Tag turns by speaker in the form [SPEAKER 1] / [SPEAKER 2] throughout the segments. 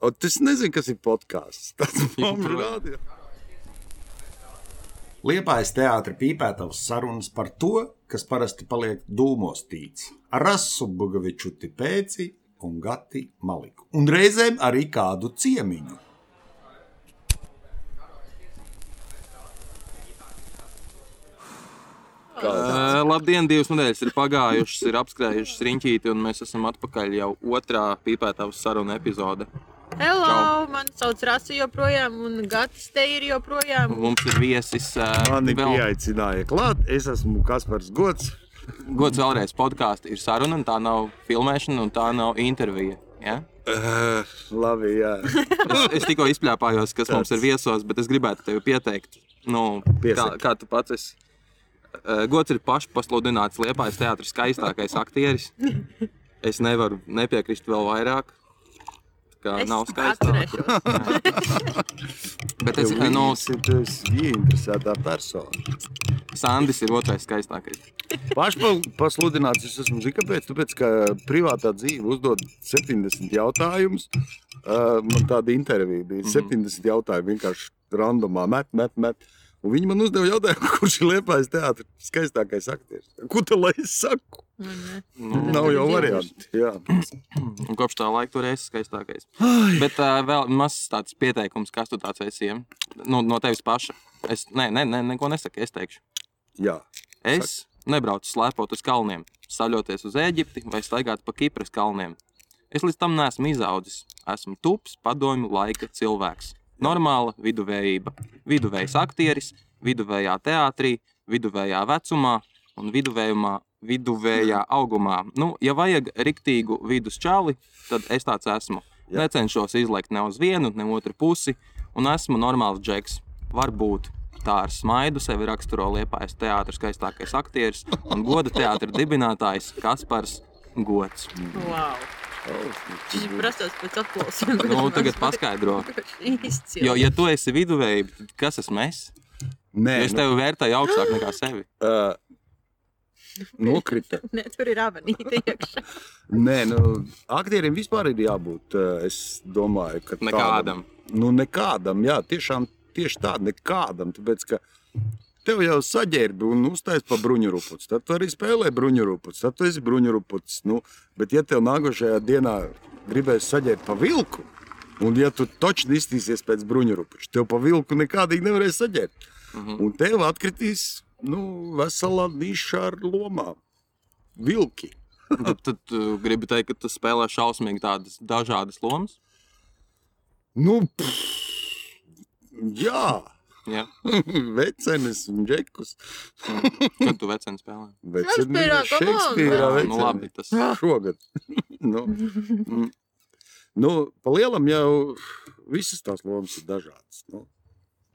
[SPEAKER 1] O, tu nezini, kas ir podkāsts. Tas man ir rādījis.
[SPEAKER 2] Liepais teātris pīpētavas sarunas par to, kas parasti paliek dūmos tīts. Ar Rasu Bugaviču tipēci un Gati Maliku. Un reizēm arī kādu ciemiņu.
[SPEAKER 3] Ē, Labdien, divas nedēļas ir pagājušas, ir apskrējušas riņķīti, un mēs esam atpakaļ jau otrā pīpētavas saruna epizode.
[SPEAKER 4] Hello, man sauc Rasa joprojām, un Gatis te ir joprojām.
[SPEAKER 3] Mums ir viesis ē,
[SPEAKER 1] Mani
[SPEAKER 3] vēl-
[SPEAKER 1] pieaicināja klāt. Es esmu Kaspars Gods.
[SPEAKER 3] Gods vēlreiz podkāsts ir saruna, un tā nav filmēšana, un tā nav intervija. Ja?
[SPEAKER 1] Uh, labi, jā.
[SPEAKER 3] Es, es tikko izplāpājos, kas mums ir viesos, bet es gribētu tevi pieteikt. Nu, kā,
[SPEAKER 1] Piesaki.
[SPEAKER 3] kā tu pats esi? Ē, Gods ir pašpasludināts Liepājas teātris skaistākais aktieris. Es nevaru nepiekrist vēl vairāk. tā Kā
[SPEAKER 4] Es
[SPEAKER 3] nav skaistāk.
[SPEAKER 4] atturēšos.
[SPEAKER 3] Bet es tikai no
[SPEAKER 1] Jūs esat ieinteresētā persona.
[SPEAKER 3] Sandis ir otrais skaistākais.
[SPEAKER 1] Pašpasludināts es esmu zina, kāpēc. Tāpēc, ka privātā dzīve uzdod 70 jautājumus. Uh, man tāda intervija bija. 70 jautājumu vienkārši randomā met, met, met. Un viņi man uzdeva jautājumu, kurš ir liepais teātris, skaistākais aktieris. Ko tad lai es saku?
[SPEAKER 3] Nu,
[SPEAKER 1] Nav jau variantu. Jā.
[SPEAKER 3] un kopš tā laika tur esi skaistākais. Bet uh, vēl mazs tāds pieteikums, kas tu tāds esi. ja? Nu, no tevis paša. Es nē, nē, nē, neko nesaku. Es teikšu,
[SPEAKER 1] Jā.
[SPEAKER 3] es nebraucu slēpot uz kalniem, saļoties uz Eģipti vai staigāt pa Kipras kalniem. Es līdz tam neesmu izaudzis. Esmu tups, padomju laika cilvēks. Normāla viduvējība. Viduvējs aktieris, viduvējā teātrī, viduvējā vecumā un viduvējumā, viduvējā augumā. Nu, ja vajag riktīgu vidus čāli, tad es tāds esmu.
[SPEAKER 1] Jā.
[SPEAKER 3] Jā. Necenšos izlaikt ne uz vienu, ne otru pusi, un esmu normāls džeks. Varbūt tā ar smaidu sevi raksturo liepais teātris, skaistākais aktieris un goda teātris dibinātājs Kaspars Gods.
[SPEAKER 4] Wow. Viņš prasās pēc aplausiem.
[SPEAKER 3] Nu, tagad paskaidro.
[SPEAKER 4] Izcili.
[SPEAKER 3] Jo, ja tu esi viduvējs, tad kas esmu es?
[SPEAKER 1] Nē, nu,
[SPEAKER 3] Jo es tevi vērtēju augstāk nekā sevi.
[SPEAKER 1] Uh, Nokrita.
[SPEAKER 4] Nē, tur ir avanīte iekšā.
[SPEAKER 1] Nē, nu, aktierim vispār ir jābūt. uh, Es domāju, ka
[SPEAKER 3] Nekādam.
[SPEAKER 1] Tādam, nu, nekādam, jā, tiešām tieši tādam, nekādam. Tāpēc, ka tev jau saģērbi un uztais pa bruņurupuci. Tad tu arī spēlē bruņurupuci, tad tu esi bruņurupucis. Nu, bet, ja tev nākošajā dienā gribēs saģērbt pa vilku, un ja tu točni iztīsies pēc bruņurupuča, tev pa vilku nekādīgi nevarēs saģērbt.
[SPEAKER 3] Mhm.
[SPEAKER 1] Un tev atkritīs nu, vesela niša ar lomām. Vilki.
[SPEAKER 3] Nu, Tad, tad tu gribi teikt, ka tu spēlē šausmīgi tādas dažādas lomas.
[SPEAKER 1] Nu, pff, jā,
[SPEAKER 3] Jā,
[SPEAKER 1] vecenis un džekus.
[SPEAKER 3] kad tu veceni spēlē.
[SPEAKER 1] Vecenis
[SPEAKER 4] Šekspīrā,
[SPEAKER 1] ir
[SPEAKER 4] come on,
[SPEAKER 1] Šekspīrā.
[SPEAKER 3] nu, labi,
[SPEAKER 1] veceni.
[SPEAKER 3] tas
[SPEAKER 1] Šogad. nu, mm. nu, pa lielam jau visas tās lomas ir dažādas. Nu,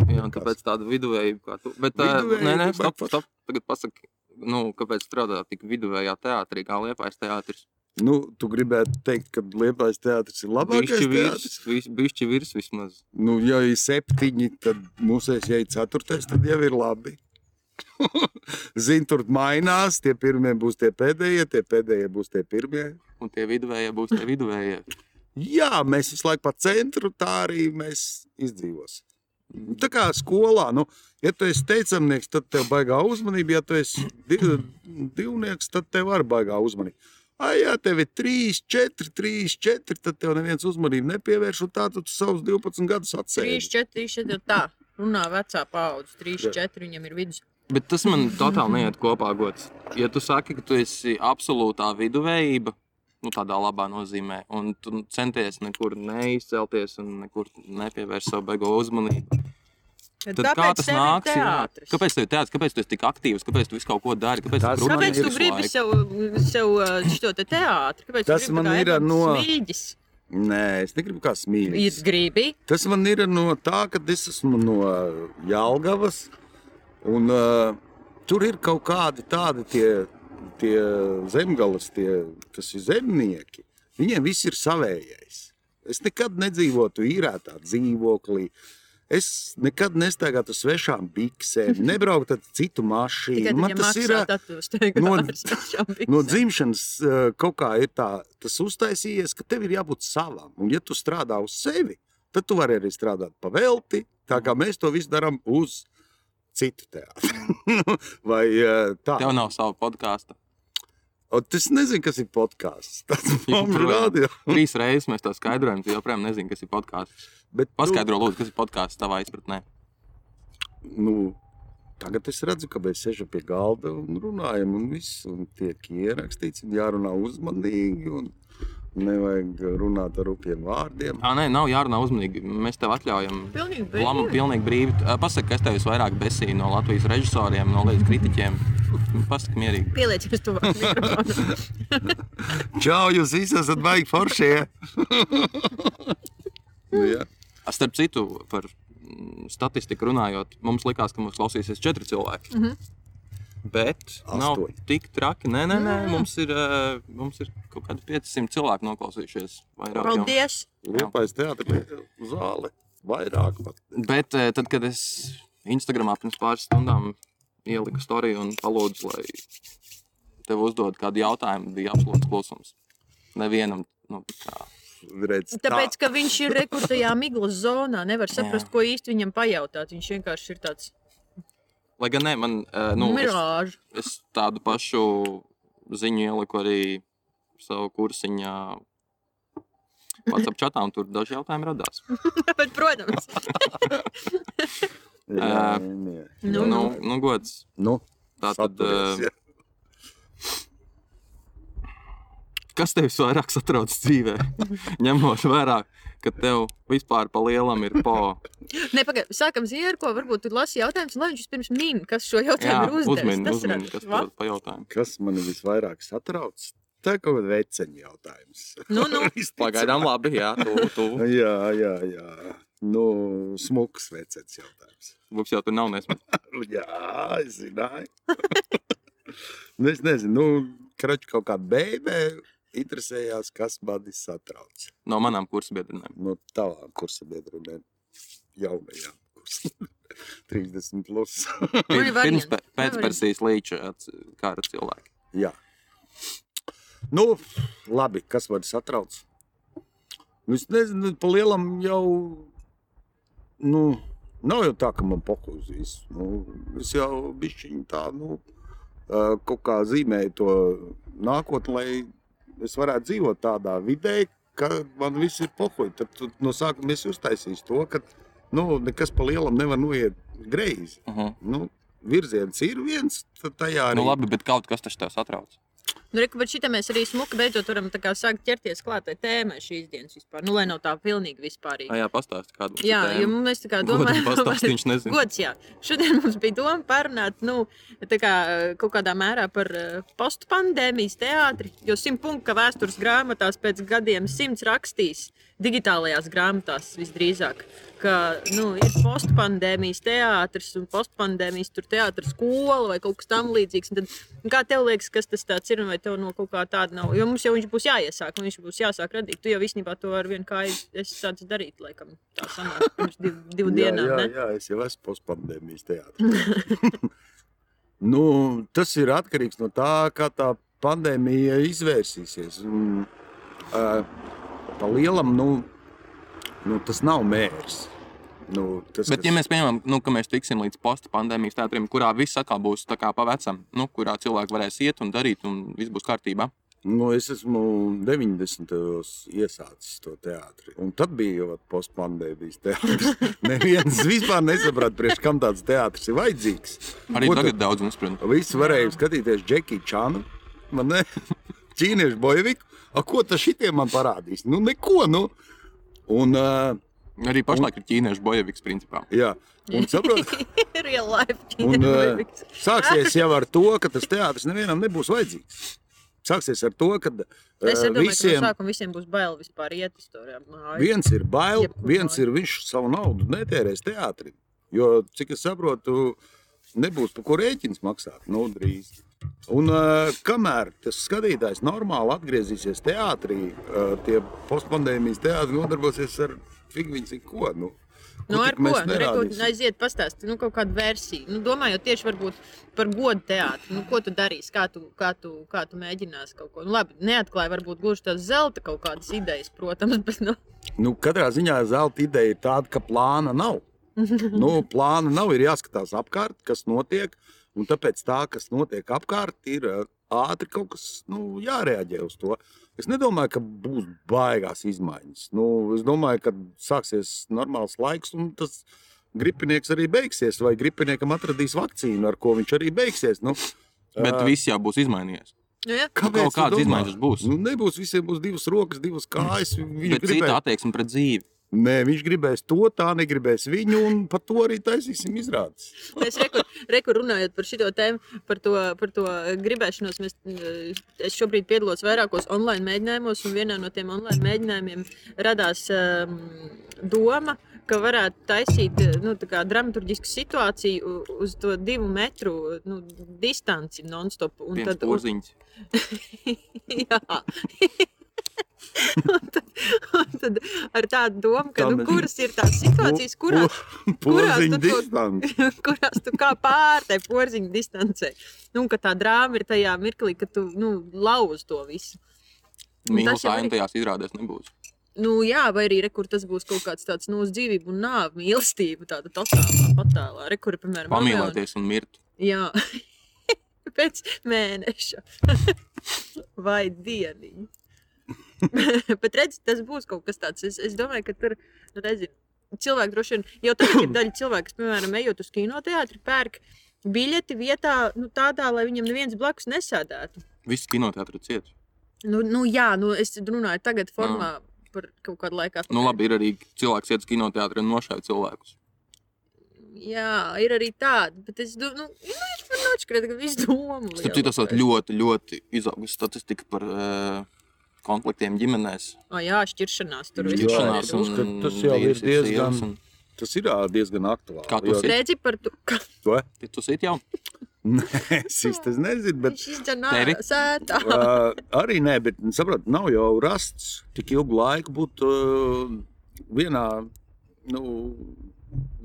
[SPEAKER 3] jā, un tāpēc tāda viduvējība kā tu. Bet, ā,
[SPEAKER 1] Viduvējība,
[SPEAKER 3] nē, nē,
[SPEAKER 1] bet
[SPEAKER 3] stop,
[SPEAKER 1] forši.
[SPEAKER 3] stop. Tagad pasaki, nu, kāpēc strādā tik viduvējā teātrī, kā liepais teātris.
[SPEAKER 1] nu, tu gribētu teikt, ka Liepais teātris ir labākais
[SPEAKER 3] Bišķi
[SPEAKER 1] teātris.
[SPEAKER 3] virs, vis- bišķi virs vismaz.
[SPEAKER 1] Nu, ja ir septiņi, tad mūsēs, ja ir ceturtais, tad jau ir labi. Zini, tur mainās. Tie pirmie būs tie pēdējie, tie pēdējie būs tie pirmie.
[SPEAKER 3] Un tie viduvējie būs tie viduvējie.
[SPEAKER 1] Jā, mēs visu laiku pa centru tā arī mēs izdzīvosim. Tā kā skolā, nu, ja tu esi teicamnieks, tad tev baigā uzmanība. Ja tu esi div, divnieks, tad tev arī baigā uzmanība. Ai, ja tev ir 3, 4, 3, 4, tad tev neviens uzmanību nepievērš, un tā tu savus 12 gadus
[SPEAKER 4] 3,
[SPEAKER 1] atsēdi.
[SPEAKER 4] 4, 4, tā. Runā vecā paudze. 3,
[SPEAKER 1] Jā.
[SPEAKER 4] 4, viņam ir vidus.
[SPEAKER 3] Bet tas man totāli neiet kopā gods. Ja tu saki, ka tu esi absolūtā viduvējība, nu tādā labā nozīmē, un tu centies nekur neizcelties un nekur nepievērst savu beigo uzmanību,
[SPEAKER 4] Bet
[SPEAKER 3] tad kā tas
[SPEAKER 4] tev ir
[SPEAKER 3] nāks? jā?
[SPEAKER 4] teātris?
[SPEAKER 3] Kāpēc tev ir teātris? Kāpēc tu esi tik aktīvs? Kāpēc tu visu kaut ko dari? Kāpēc
[SPEAKER 1] Tas
[SPEAKER 3] tu
[SPEAKER 1] man
[SPEAKER 4] Kāpēc
[SPEAKER 1] ir
[SPEAKER 4] tu gribi sev, sev ā, šo te teātri? Kāpēc tu
[SPEAKER 1] Tas
[SPEAKER 4] gribi
[SPEAKER 1] man
[SPEAKER 4] tā
[SPEAKER 1] ir
[SPEAKER 4] Edmunds
[SPEAKER 1] no-
[SPEAKER 4] Smīļģis?
[SPEAKER 1] Nē, es negribu kā
[SPEAKER 4] Ir
[SPEAKER 1] smīļot.
[SPEAKER 4] gribi.
[SPEAKER 1] Tas man ir no tā, ka es esmu no Jālgavas. Un, uh, tur ir kaut kādi tādi tie, tie zemgālis, kas ir zemnieki. Viņiem viss ir savējais. Es nekad nedzīvotu īrētā dzīvoklī. Es nekad nestaigātu uz svešām biksēm, nebrauktu ar citu mašīnu.
[SPEAKER 4] Tikai tad,
[SPEAKER 1] Man
[SPEAKER 4] ja
[SPEAKER 1] tas ir
[SPEAKER 4] maksā,
[SPEAKER 1] ā,
[SPEAKER 4] tad tu steigā
[SPEAKER 1] no-
[SPEAKER 4] ar svešām
[SPEAKER 1] no
[SPEAKER 4] biksēm.
[SPEAKER 1] dzimšanas ā, kaut kā ir tā, tas uztaisījies, ka tev ir jābūt savam. Un, ja tu strādā uz sevi, tad tu vari arī strādāt pavelti. Tā kā mēs to visu darām uz citu teātru. Vai ā, tā?
[SPEAKER 3] Tev nav sava podkāsta.
[SPEAKER 1] Un tas nezinu, kas ir podkāsts. Tas mums ir
[SPEAKER 3] Joprojām.
[SPEAKER 1] rādījums.
[SPEAKER 3] Trīs reizes mēs to skaidrojam, tu joprojām nezini, kas ir podkāsts. Paskaidro, lūdzu, kas ir podkāsts tavā izpratnē.
[SPEAKER 1] nu, tagad es redzu, ka mēs sēžam pie galda un runājam, un viss un tiek ierakstīts, un jārunā uzmanīgi. Un... Nevajag runāt ar rupjiem vārdiem.
[SPEAKER 3] Ah, nē, nav jārunā uzmanīgi. Mēs tev atļaujam.
[SPEAKER 4] Pilnīgi
[SPEAKER 3] Lama,
[SPEAKER 4] brīvi.
[SPEAKER 3] pilnīgi brīvi. Ā, Pasaki, kas tev visvairāk besīja no Latvijas režisoriem, no līdz kritiķiem. Nu, Pasaki, mierīgi.
[SPEAKER 4] Pielieties tuvāk mikrofonam.
[SPEAKER 1] Čau, jūs visi esat baigi foršie. nu, jā.
[SPEAKER 3] Starp citu, par mm, statistiku runājot, mums likās, ka mums klausīsies četri cilvēki. Mm
[SPEAKER 4] Mhm.
[SPEAKER 3] -hmm. Bet nav
[SPEAKER 1] Astoņi.
[SPEAKER 3] tik traki. Nē, nē, nē. Mums, ir, eh, mums ir kaut kādi 500 cilvēki noklausījušies. vairāk jau.
[SPEAKER 4] Paldies!
[SPEAKER 1] Liepais teātris, zāle. Vairāk pat.
[SPEAKER 3] Bet eh, tad, kad es Instagramā pirms pāris stundām ieliku storiju un palūdzu, lai tev uzdod kādu jautājumu, bija absolūts klusums. Nevienam, nu, tā.
[SPEAKER 1] Redz,
[SPEAKER 4] Tāpēc, ka viņš ir rekrutējā miglas zonā, nevar saprast,
[SPEAKER 3] Jā.
[SPEAKER 4] ko īsti viņam pajautāt. Viņš vienkārši ir tāds
[SPEAKER 3] Lai gan nē, man, eh, nu,
[SPEAKER 4] nu,
[SPEAKER 3] es,
[SPEAKER 4] mirāžs.
[SPEAKER 3] es tādu pašu ziņu ieliku arī savu kursiņā. Pats ap čatām tur daži jautājumi radās.
[SPEAKER 4] Bet, protams,
[SPEAKER 1] tā
[SPEAKER 3] Ā,
[SPEAKER 1] ir.
[SPEAKER 4] nu,
[SPEAKER 3] Nu, nu gods.
[SPEAKER 1] Nu,
[SPEAKER 3] Tā tad,
[SPEAKER 1] saturies,
[SPEAKER 3] eh,
[SPEAKER 1] jā.
[SPEAKER 3] kas tev visvairāk satrauc dzīvē? Ņemot vērā, ka tev vispār pa lielam ir po.
[SPEAKER 4] ne, paga, sākam zierko, varbūt tur lasi jautājums, un lai viņš pirms min, kas šo
[SPEAKER 3] Jā,
[SPEAKER 4] jautājumu ir uzdevis.
[SPEAKER 3] uzmini,
[SPEAKER 4] Tas ir
[SPEAKER 3] uzmini, kas
[SPEAKER 4] va?
[SPEAKER 3] tev pajautājumu.
[SPEAKER 1] Kas man visvairāk satrauc? Tā ir kaut kāda veceņa jautājums.
[SPEAKER 4] Nu, nu,
[SPEAKER 3] Pagaidām labi, jā, tu, tu.
[SPEAKER 1] Jā, jā, jā. Nu, smuks vecais jautājums.
[SPEAKER 3] Būs jau tur nav nesmēķis.
[SPEAKER 1] Jā, es zināju. nu, es nezinu, nu, kraču kaut kāda bēbē interesējās, kas mani satrauc.
[SPEAKER 3] No manām kursabiedrinēm.
[SPEAKER 1] No tavām Nu, kursa biedriem, jaunajām kursiem. 30 plus.
[SPEAKER 4] Nu, ir
[SPEAKER 3] Pirms
[SPEAKER 4] variants.
[SPEAKER 3] pe- pēc
[SPEAKER 4] Nu, variants.
[SPEAKER 3] Persijas līča ats- kara cilvēki.
[SPEAKER 1] Jā. Nu, labi, kas man satrauc? Nu, es nezinu, pa lielam jau. Nu, nav jau tā, ka man pakūzīs. Nu, es jau bišķiņu tā, nu, ā, kaut kā zīmēju to nākotnē, lai es varētu dzīvot tādā vidē, ka man viss ir pohuļ. Tad tu no sākuma es uztaisīšu to, ka, nu, nekas pa lielam nevar noiet greizi.
[SPEAKER 3] Uh -huh.
[SPEAKER 1] Nu, virziens ir viens, tad tajā arī.
[SPEAKER 3] Nu labi, bet kaut kas taču tev satrauc.
[SPEAKER 4] nu, reku, bet šitā mēs arī smuki beidzot varam tā kā sākt ķerties klātai tēmai šīs dienas vispār. Nu, lai nav tā pilnīgi vispārīgi.
[SPEAKER 3] Ah, jā, pastāsti kādu.
[SPEAKER 4] Jā, jo mēs tā kā
[SPEAKER 3] domāju,
[SPEAKER 4] domājam,
[SPEAKER 3] ka pastāsti viņš nezina.
[SPEAKER 4] Gods, jā. Šodien mums bija doma parunāt nu, tā kā, kaut kādā mērā par eh, postpandēmijas teātri. Jo simtpunkta vēstures grāmatās pēc gadiem simts rakstīs, digitālajās grāmatās visdrīzāk, ka nu, ir postpandēmijas teātris un postpandēmijas tur teātris skola vai kaut kas tamlīdzīgs. Un Tad, kā tev liekas, kas tas tāds ir un vai tev no kaut kā tāda nav? Jo mums jau viņš būs jāiesāk un viņš būs jāsāk radīt. Tu jau īstenībā to ar vienu kāju esi sācis darīt, laikam, tā sanāk pirms div, divu
[SPEAKER 1] Jā,
[SPEAKER 4] dienām.
[SPEAKER 1] Jā,
[SPEAKER 4] ne?
[SPEAKER 1] jā, es jau esmu postpandēmijas teātris. nu, tas ir atkarīgs no tā, kā tā pandēmija izvērsīsies. Un, uh, pa lielam, nu, nu, tas nav mērs. Nu, tas,
[SPEAKER 3] Bet, ja mēs pieņemam, nu, ka mēs tiksim līdz postpandēmijas teātrim, kurā viss atkal būs tā kā pavecam, nu, kurā cilvēki varēs iet un darīt, un viss būs kārtībā.
[SPEAKER 1] Nu, es esmu 90. gados iesācis to teātri. Un tad bija jau postpandēmijas teātris. Neviens vispār nesaprata, priekš kam tāds teātris ir vajadzīgs.
[SPEAKER 3] Arī
[SPEAKER 1] Ko tu-
[SPEAKER 3] tagad daudz nesaprot.
[SPEAKER 1] Visi varēja skatīties Džekiju Čānu, man ne? ķīniešu bojeviku. A, ko tas šitiem man parādīs? Nu, neko. Nu. Un, uh,
[SPEAKER 3] Arī pašlaik ir ķīniešu bojeviks, principā.
[SPEAKER 1] jā, un saprot,
[SPEAKER 4] Real life.
[SPEAKER 1] un, uh,
[SPEAKER 4] ķīniešu bojeviks.
[SPEAKER 1] sāksies jau ar to, ka tas teātris nevienam nebūs vajadzīgs. Sāksies ar to, ka
[SPEAKER 4] Es
[SPEAKER 1] uh,
[SPEAKER 4] domāju, visiem...
[SPEAKER 1] visiem
[SPEAKER 4] ka no sākuma visiem būs bail vispār iet uz to māju.
[SPEAKER 1] viens ir bail,
[SPEAKER 4] Jebkur
[SPEAKER 1] viens
[SPEAKER 4] nav.
[SPEAKER 1] ir viņš savu naudu netērēs teātrim. Jo, cik es saprotu, nebūs par ko rēķins maksāt. Nu, drīz. Un, uh, kamēr tas skatītājs normāli atgriezīsies teātrī, uh, tie postpandēmijas teātris nodarbosies ar figūru, cik ko. Nu,
[SPEAKER 4] Nu, ar
[SPEAKER 1] tik
[SPEAKER 4] ko?
[SPEAKER 1] mēs
[SPEAKER 4] Nu, re, ko
[SPEAKER 1] nerādīsim?
[SPEAKER 4] aiziet, pastāstīt nu, kaut kādu versiju. Nu, domājot tieši varbūt par godu teātru. Nu, ko tu darīsi? Kā tu, kā tu, kā tu mēģināsi kaut ko? Nu, labi, neatklāja varbūt gluži tās zelta kaut kādas idejas, protams, bet nu,
[SPEAKER 1] Nu, katrā ziņā zelta ideja ir tāda, ka plāna nav. nu,
[SPEAKER 3] Mhm.
[SPEAKER 1] plāna nav, ir jāskatās apkārt, kas notiek. Un tāpēc tā, kas notiek apkārt, ir eh, ātri kaut kas nu, jārēģē uz to. Es nedomāju, ka būs baigās izmaiņas. Nu, es domāju, ka sāksies normāls laiks, un tas gripinieks arī beigsies. Vai gripiniekam atradīs vakcīnu, ar ko viņš arī beigsies. Nu,
[SPEAKER 3] Bet
[SPEAKER 1] eh,
[SPEAKER 3] viss jau būs izmainījies.
[SPEAKER 4] nu jā.
[SPEAKER 3] Nu,
[SPEAKER 1] kāpēc
[SPEAKER 3] kaut
[SPEAKER 1] tu
[SPEAKER 3] kādas
[SPEAKER 1] domā?
[SPEAKER 3] izmaiņas būs.
[SPEAKER 1] Nu, nebūs visiem būs divas rokas, divas kājas. Viņš
[SPEAKER 3] Bet cita attieksme pret dzīvi.
[SPEAKER 1] Nē, viņš gribēs to, tā negribēs viņu, un par to arī taisīsim izrādes.
[SPEAKER 4] Mēs rekur runājot par šo tēmu, par to, par to gribēšanos. Mēs, eh, es šobrīd piedalos vairākos online mēģinājumos, un vienā no tiem online mēģinājumiem radās um, doma, ka varētu taisīt eh, nu, tā kā dramaturgisku situāciju u- uz to divu metru nu, distanci non-stop. Un
[SPEAKER 3] Viens
[SPEAKER 4] un-
[SPEAKER 3] porziņš.
[SPEAKER 4] Jā. un tad, un tad ar tādu domu, ka
[SPEAKER 1] Tā
[SPEAKER 4] nu,
[SPEAKER 1] mēs- Nu,
[SPEAKER 4] kuras ir tās situācijas, kurās kurās tu
[SPEAKER 1] Porziņa
[SPEAKER 4] to-
[SPEAKER 1] distance.
[SPEAKER 4] kurās tu kā pārtai porziņa distancē. Nu, ka tā drāma ir tajā mirklī, ka tu nu, lauz to visu. Un tas
[SPEAKER 3] Mīlestības
[SPEAKER 4] jau arī-
[SPEAKER 3] aina tajās izrādēs nebūs.
[SPEAKER 4] Nu, jā, vai arī re, kur tas būs kaut kāds tāds no dzīvības un nāves mīlestība, tāda totālā patālā. Re, kur, piemēram, Ameona-
[SPEAKER 3] Pamīlēties un mirt.
[SPEAKER 4] Jā, pēc mēneša vai dieniņa. Bet redziet, tas būs kaut kas tāds. Es, es domāju, ka tur nu, redzi, cilvēki droši vien jau tagad ir daļa cilvēku, kas, piemēram, ejot uz kinoteātri, pērk biļeti vietā, nu, tādā, lai viņam neviens blakus nesēdētu.
[SPEAKER 3] Viss kinoteātris ciet.
[SPEAKER 4] Nu, nu, jā, nu, es runāju tagad formā par kaut kādu laiku.
[SPEAKER 3] Nu, labi, ir arī cilvēks, kas iet uz kinoteātri un nošauja cilvēkus.
[SPEAKER 4] Jā, ir arī tāda, bet es domāju, nu, nu, viņš man nošķiet, ka viss domā.
[SPEAKER 3] Starp citu, tas ir ļoti, ļoti izaugusi statistika par uh, konfliktiem ģimenēs.
[SPEAKER 4] O, jā, šķiršanās tur
[SPEAKER 1] Jā,
[SPEAKER 4] viss
[SPEAKER 3] Šķiršanās
[SPEAKER 1] jā.
[SPEAKER 4] ir.
[SPEAKER 1] Tas-
[SPEAKER 3] un
[SPEAKER 1] tas jau ir
[SPEAKER 3] vīrs ir
[SPEAKER 1] diezgan-
[SPEAKER 3] sievas un-
[SPEAKER 1] Tas ir ā, diezgan aktuāli.
[SPEAKER 3] Kā tu
[SPEAKER 1] jo-
[SPEAKER 3] saki?
[SPEAKER 4] Redzi par to, ka
[SPEAKER 1] to?
[SPEAKER 3] Ti- Tu sit jau?
[SPEAKER 1] Nē, es īsti nezinu, bet
[SPEAKER 4] viņš izdzēra
[SPEAKER 3] Tevi?
[SPEAKER 4] sētā.
[SPEAKER 1] uh, arī nē, bet saprotiet, nav jau rasts tik ilgu laiku būt uh, vienā nu,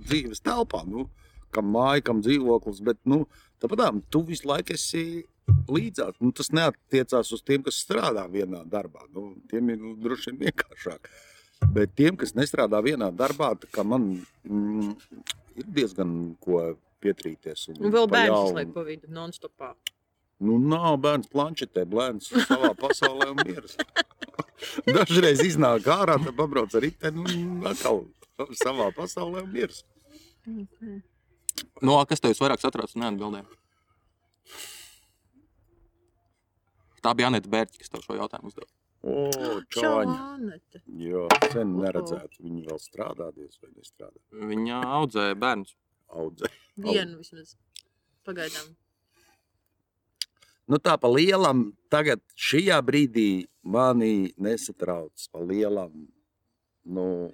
[SPEAKER 1] dzīves telpā. Nu, kam māja, kam dzīvoklis, bet nu, tāpatām tu visu laiku esi līdzās. Nu, tas neatiecās uz tiem, kas strādā vienā darbā. Nu, tiem ir nu, droši vien vienkāršāk. Bet tiem, kas nestrādā vienā darbā, tā kā man mm, ir diezgan ko pietrīties. Un,
[SPEAKER 4] Un vēl
[SPEAKER 1] pa
[SPEAKER 4] bērns
[SPEAKER 1] jaunu.
[SPEAKER 4] visu laiku pavīdu non-stopā.
[SPEAKER 1] Nu, nav bērns planšetē, bērns savā pasaulē un mieras. Dažreiz iznāk ārā, tad pabrauc ar riteni un atkal savā pasaulē un mieras.
[SPEAKER 3] No, Nu, kas tev visvairāk satrauc? Neatbildēji. Tā bija Anita Bērķa, kas tev šo jautājumu uzdeva.
[SPEAKER 1] O, čāņi.
[SPEAKER 4] Čānete.
[SPEAKER 1] Jā, sen neredzētu. Viņi vēl strādāties vai nestrādā.
[SPEAKER 3] Viņa audzēja bērnus.
[SPEAKER 1] Audzē.
[SPEAKER 4] Vienu vismaz. Pagaidām.
[SPEAKER 1] Nu tā pa lielam, tagad šajā brīdī mani nesatrauc pa lielam. Nu,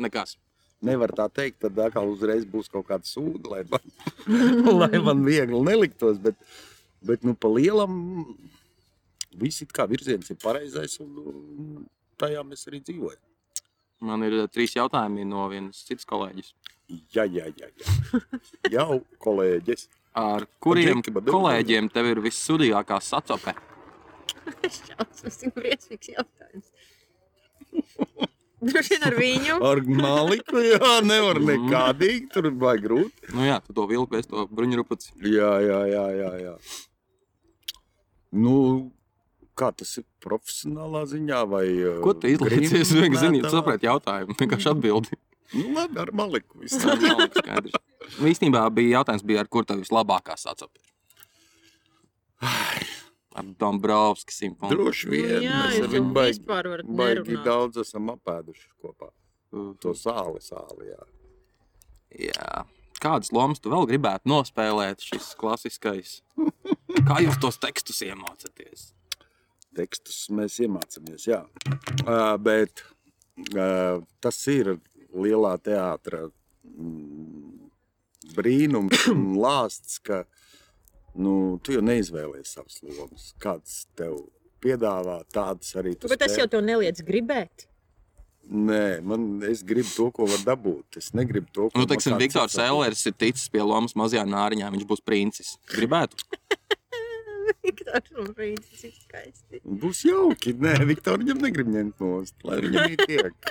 [SPEAKER 3] Nekas.
[SPEAKER 1] nevar tā teikt, tad atkal uzreiz būs kaut kāda sūda, lai man, lai man viegli neliktos. Bet, bet nu, pa lielam viss ir kā virziens ir pareizais, un, un tajā mēs arī dzīvojam.
[SPEAKER 3] Man ir eh, trīs jautājumi no vienas citas kolēģis.
[SPEAKER 1] Jā, jā, jā. jā. Jau kolēģis.
[SPEAKER 3] Ar kuriem
[SPEAKER 1] Džeki, bet divi
[SPEAKER 3] kolēģiem tev ir vissudīgākā sacope?
[SPEAKER 4] Es šaus, tas ir briesmīgs jautājums. Droši vien ar viņu.
[SPEAKER 1] Ar maliku jā,
[SPEAKER 3] Mm.
[SPEAKER 1] nevar nekādīgi, tur vajag grūti.
[SPEAKER 3] Nu jā, tu to vilku, es to bruņurupaci.
[SPEAKER 1] Jā, jā, jā, jā. jā. Nu, kā tas ir profesionālā ziņā vai... uh,
[SPEAKER 3] Ko tu izlaicies? Vienkārši zini,
[SPEAKER 1] gribmētā?
[SPEAKER 3] tu saprati jautājumu. Vienkārši atbildi.
[SPEAKER 1] Nu, labi, ar maliku. viss.
[SPEAKER 3] Tā nav skaidrs. Nu, Īstenībā bija jautājums, bija, ar kur tev vislabākā sacope? Ar Dombrovskis simfoniju.
[SPEAKER 1] Droši vien
[SPEAKER 4] Nu, jā,
[SPEAKER 1] mēs
[SPEAKER 4] jūs
[SPEAKER 1] ar
[SPEAKER 4] jau
[SPEAKER 1] viņu baigi,
[SPEAKER 4] vispār varat
[SPEAKER 1] baigi
[SPEAKER 4] nerunāt.
[SPEAKER 1] daudz esam apēduši kopā. To sāli, sāli. Jā.
[SPEAKER 3] Jā. Kādas lomas tu vēl gribētu nospēlēt šis klasiskais? Kā jūs tos tekstus iemācāties?
[SPEAKER 1] Tekstus mēs iemācāmies. Jā. Uh, bet uh, tas ir lielā teātris brīnums un lāsts, ka mm, Nu, tu jau neizvēlējies savas lomas. Kāds tev piedāvā tādas arī tu
[SPEAKER 4] Bet tas
[SPEAKER 1] spēj.
[SPEAKER 4] jau tev neliedz gribēt.
[SPEAKER 1] Nē, man es gribu to, ko var dabūt. Es negribu to, ko
[SPEAKER 3] Nu,
[SPEAKER 1] man
[SPEAKER 3] teiksim,
[SPEAKER 1] kāds
[SPEAKER 3] Viktors
[SPEAKER 1] atsaka.
[SPEAKER 3] Ellers ir ticis pie lomas mazajā nāriņā. Viņš būs princis. Gribētu.
[SPEAKER 4] Viktors un Frīdis ir skaisti.
[SPEAKER 1] Būs jauki. Nē, Viktor, viņam negrib ņemt nost, lai viņam ir tiek.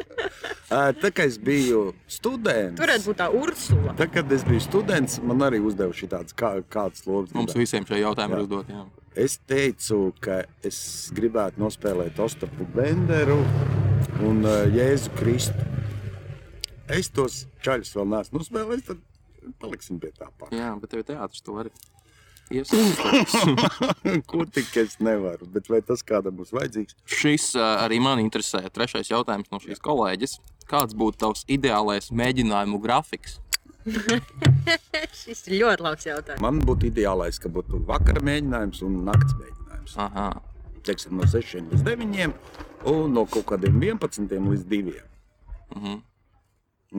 [SPEAKER 1] Ā, Tā kā es biju students,
[SPEAKER 4] Tur varētu būt tā Ursula.
[SPEAKER 1] tad, kad es biju students, man arī uzdeva šī tādas kā, kādas lomas.
[SPEAKER 3] Mums
[SPEAKER 1] gribētu.
[SPEAKER 3] visiem šie jautājumi
[SPEAKER 1] Jā.
[SPEAKER 3] ir uzdot. Jā.
[SPEAKER 1] Es teicu, ka es gribētu nospēlēt Ostapu Benderu un uh, Jēzu Kristu. Es tos čaļus vēl neesmu nospēlējis, tad paliksim pie tā pāri.
[SPEAKER 3] jā, bet tev ir teātris, tu vari. Iesaistīties.
[SPEAKER 1] Ko tik es nevaru, bet vai tas kādam būs vajadzīgs?
[SPEAKER 3] Šis ā, arī man interesē. Trešais jautājums no šīs kolēģis. Kāds būtu tavs ideālais mēģinājumu grafiks?
[SPEAKER 4] Šis ir ļoti labs jautājums.
[SPEAKER 1] Man būtu ideālais, ka būtu vakara mēģinājums un nakts mēģinājums.
[SPEAKER 3] Aha.
[SPEAKER 1] Teiksim, no 6 līdz 9, un no kaut kādiem 11 līdz 2.
[SPEAKER 3] Mhm.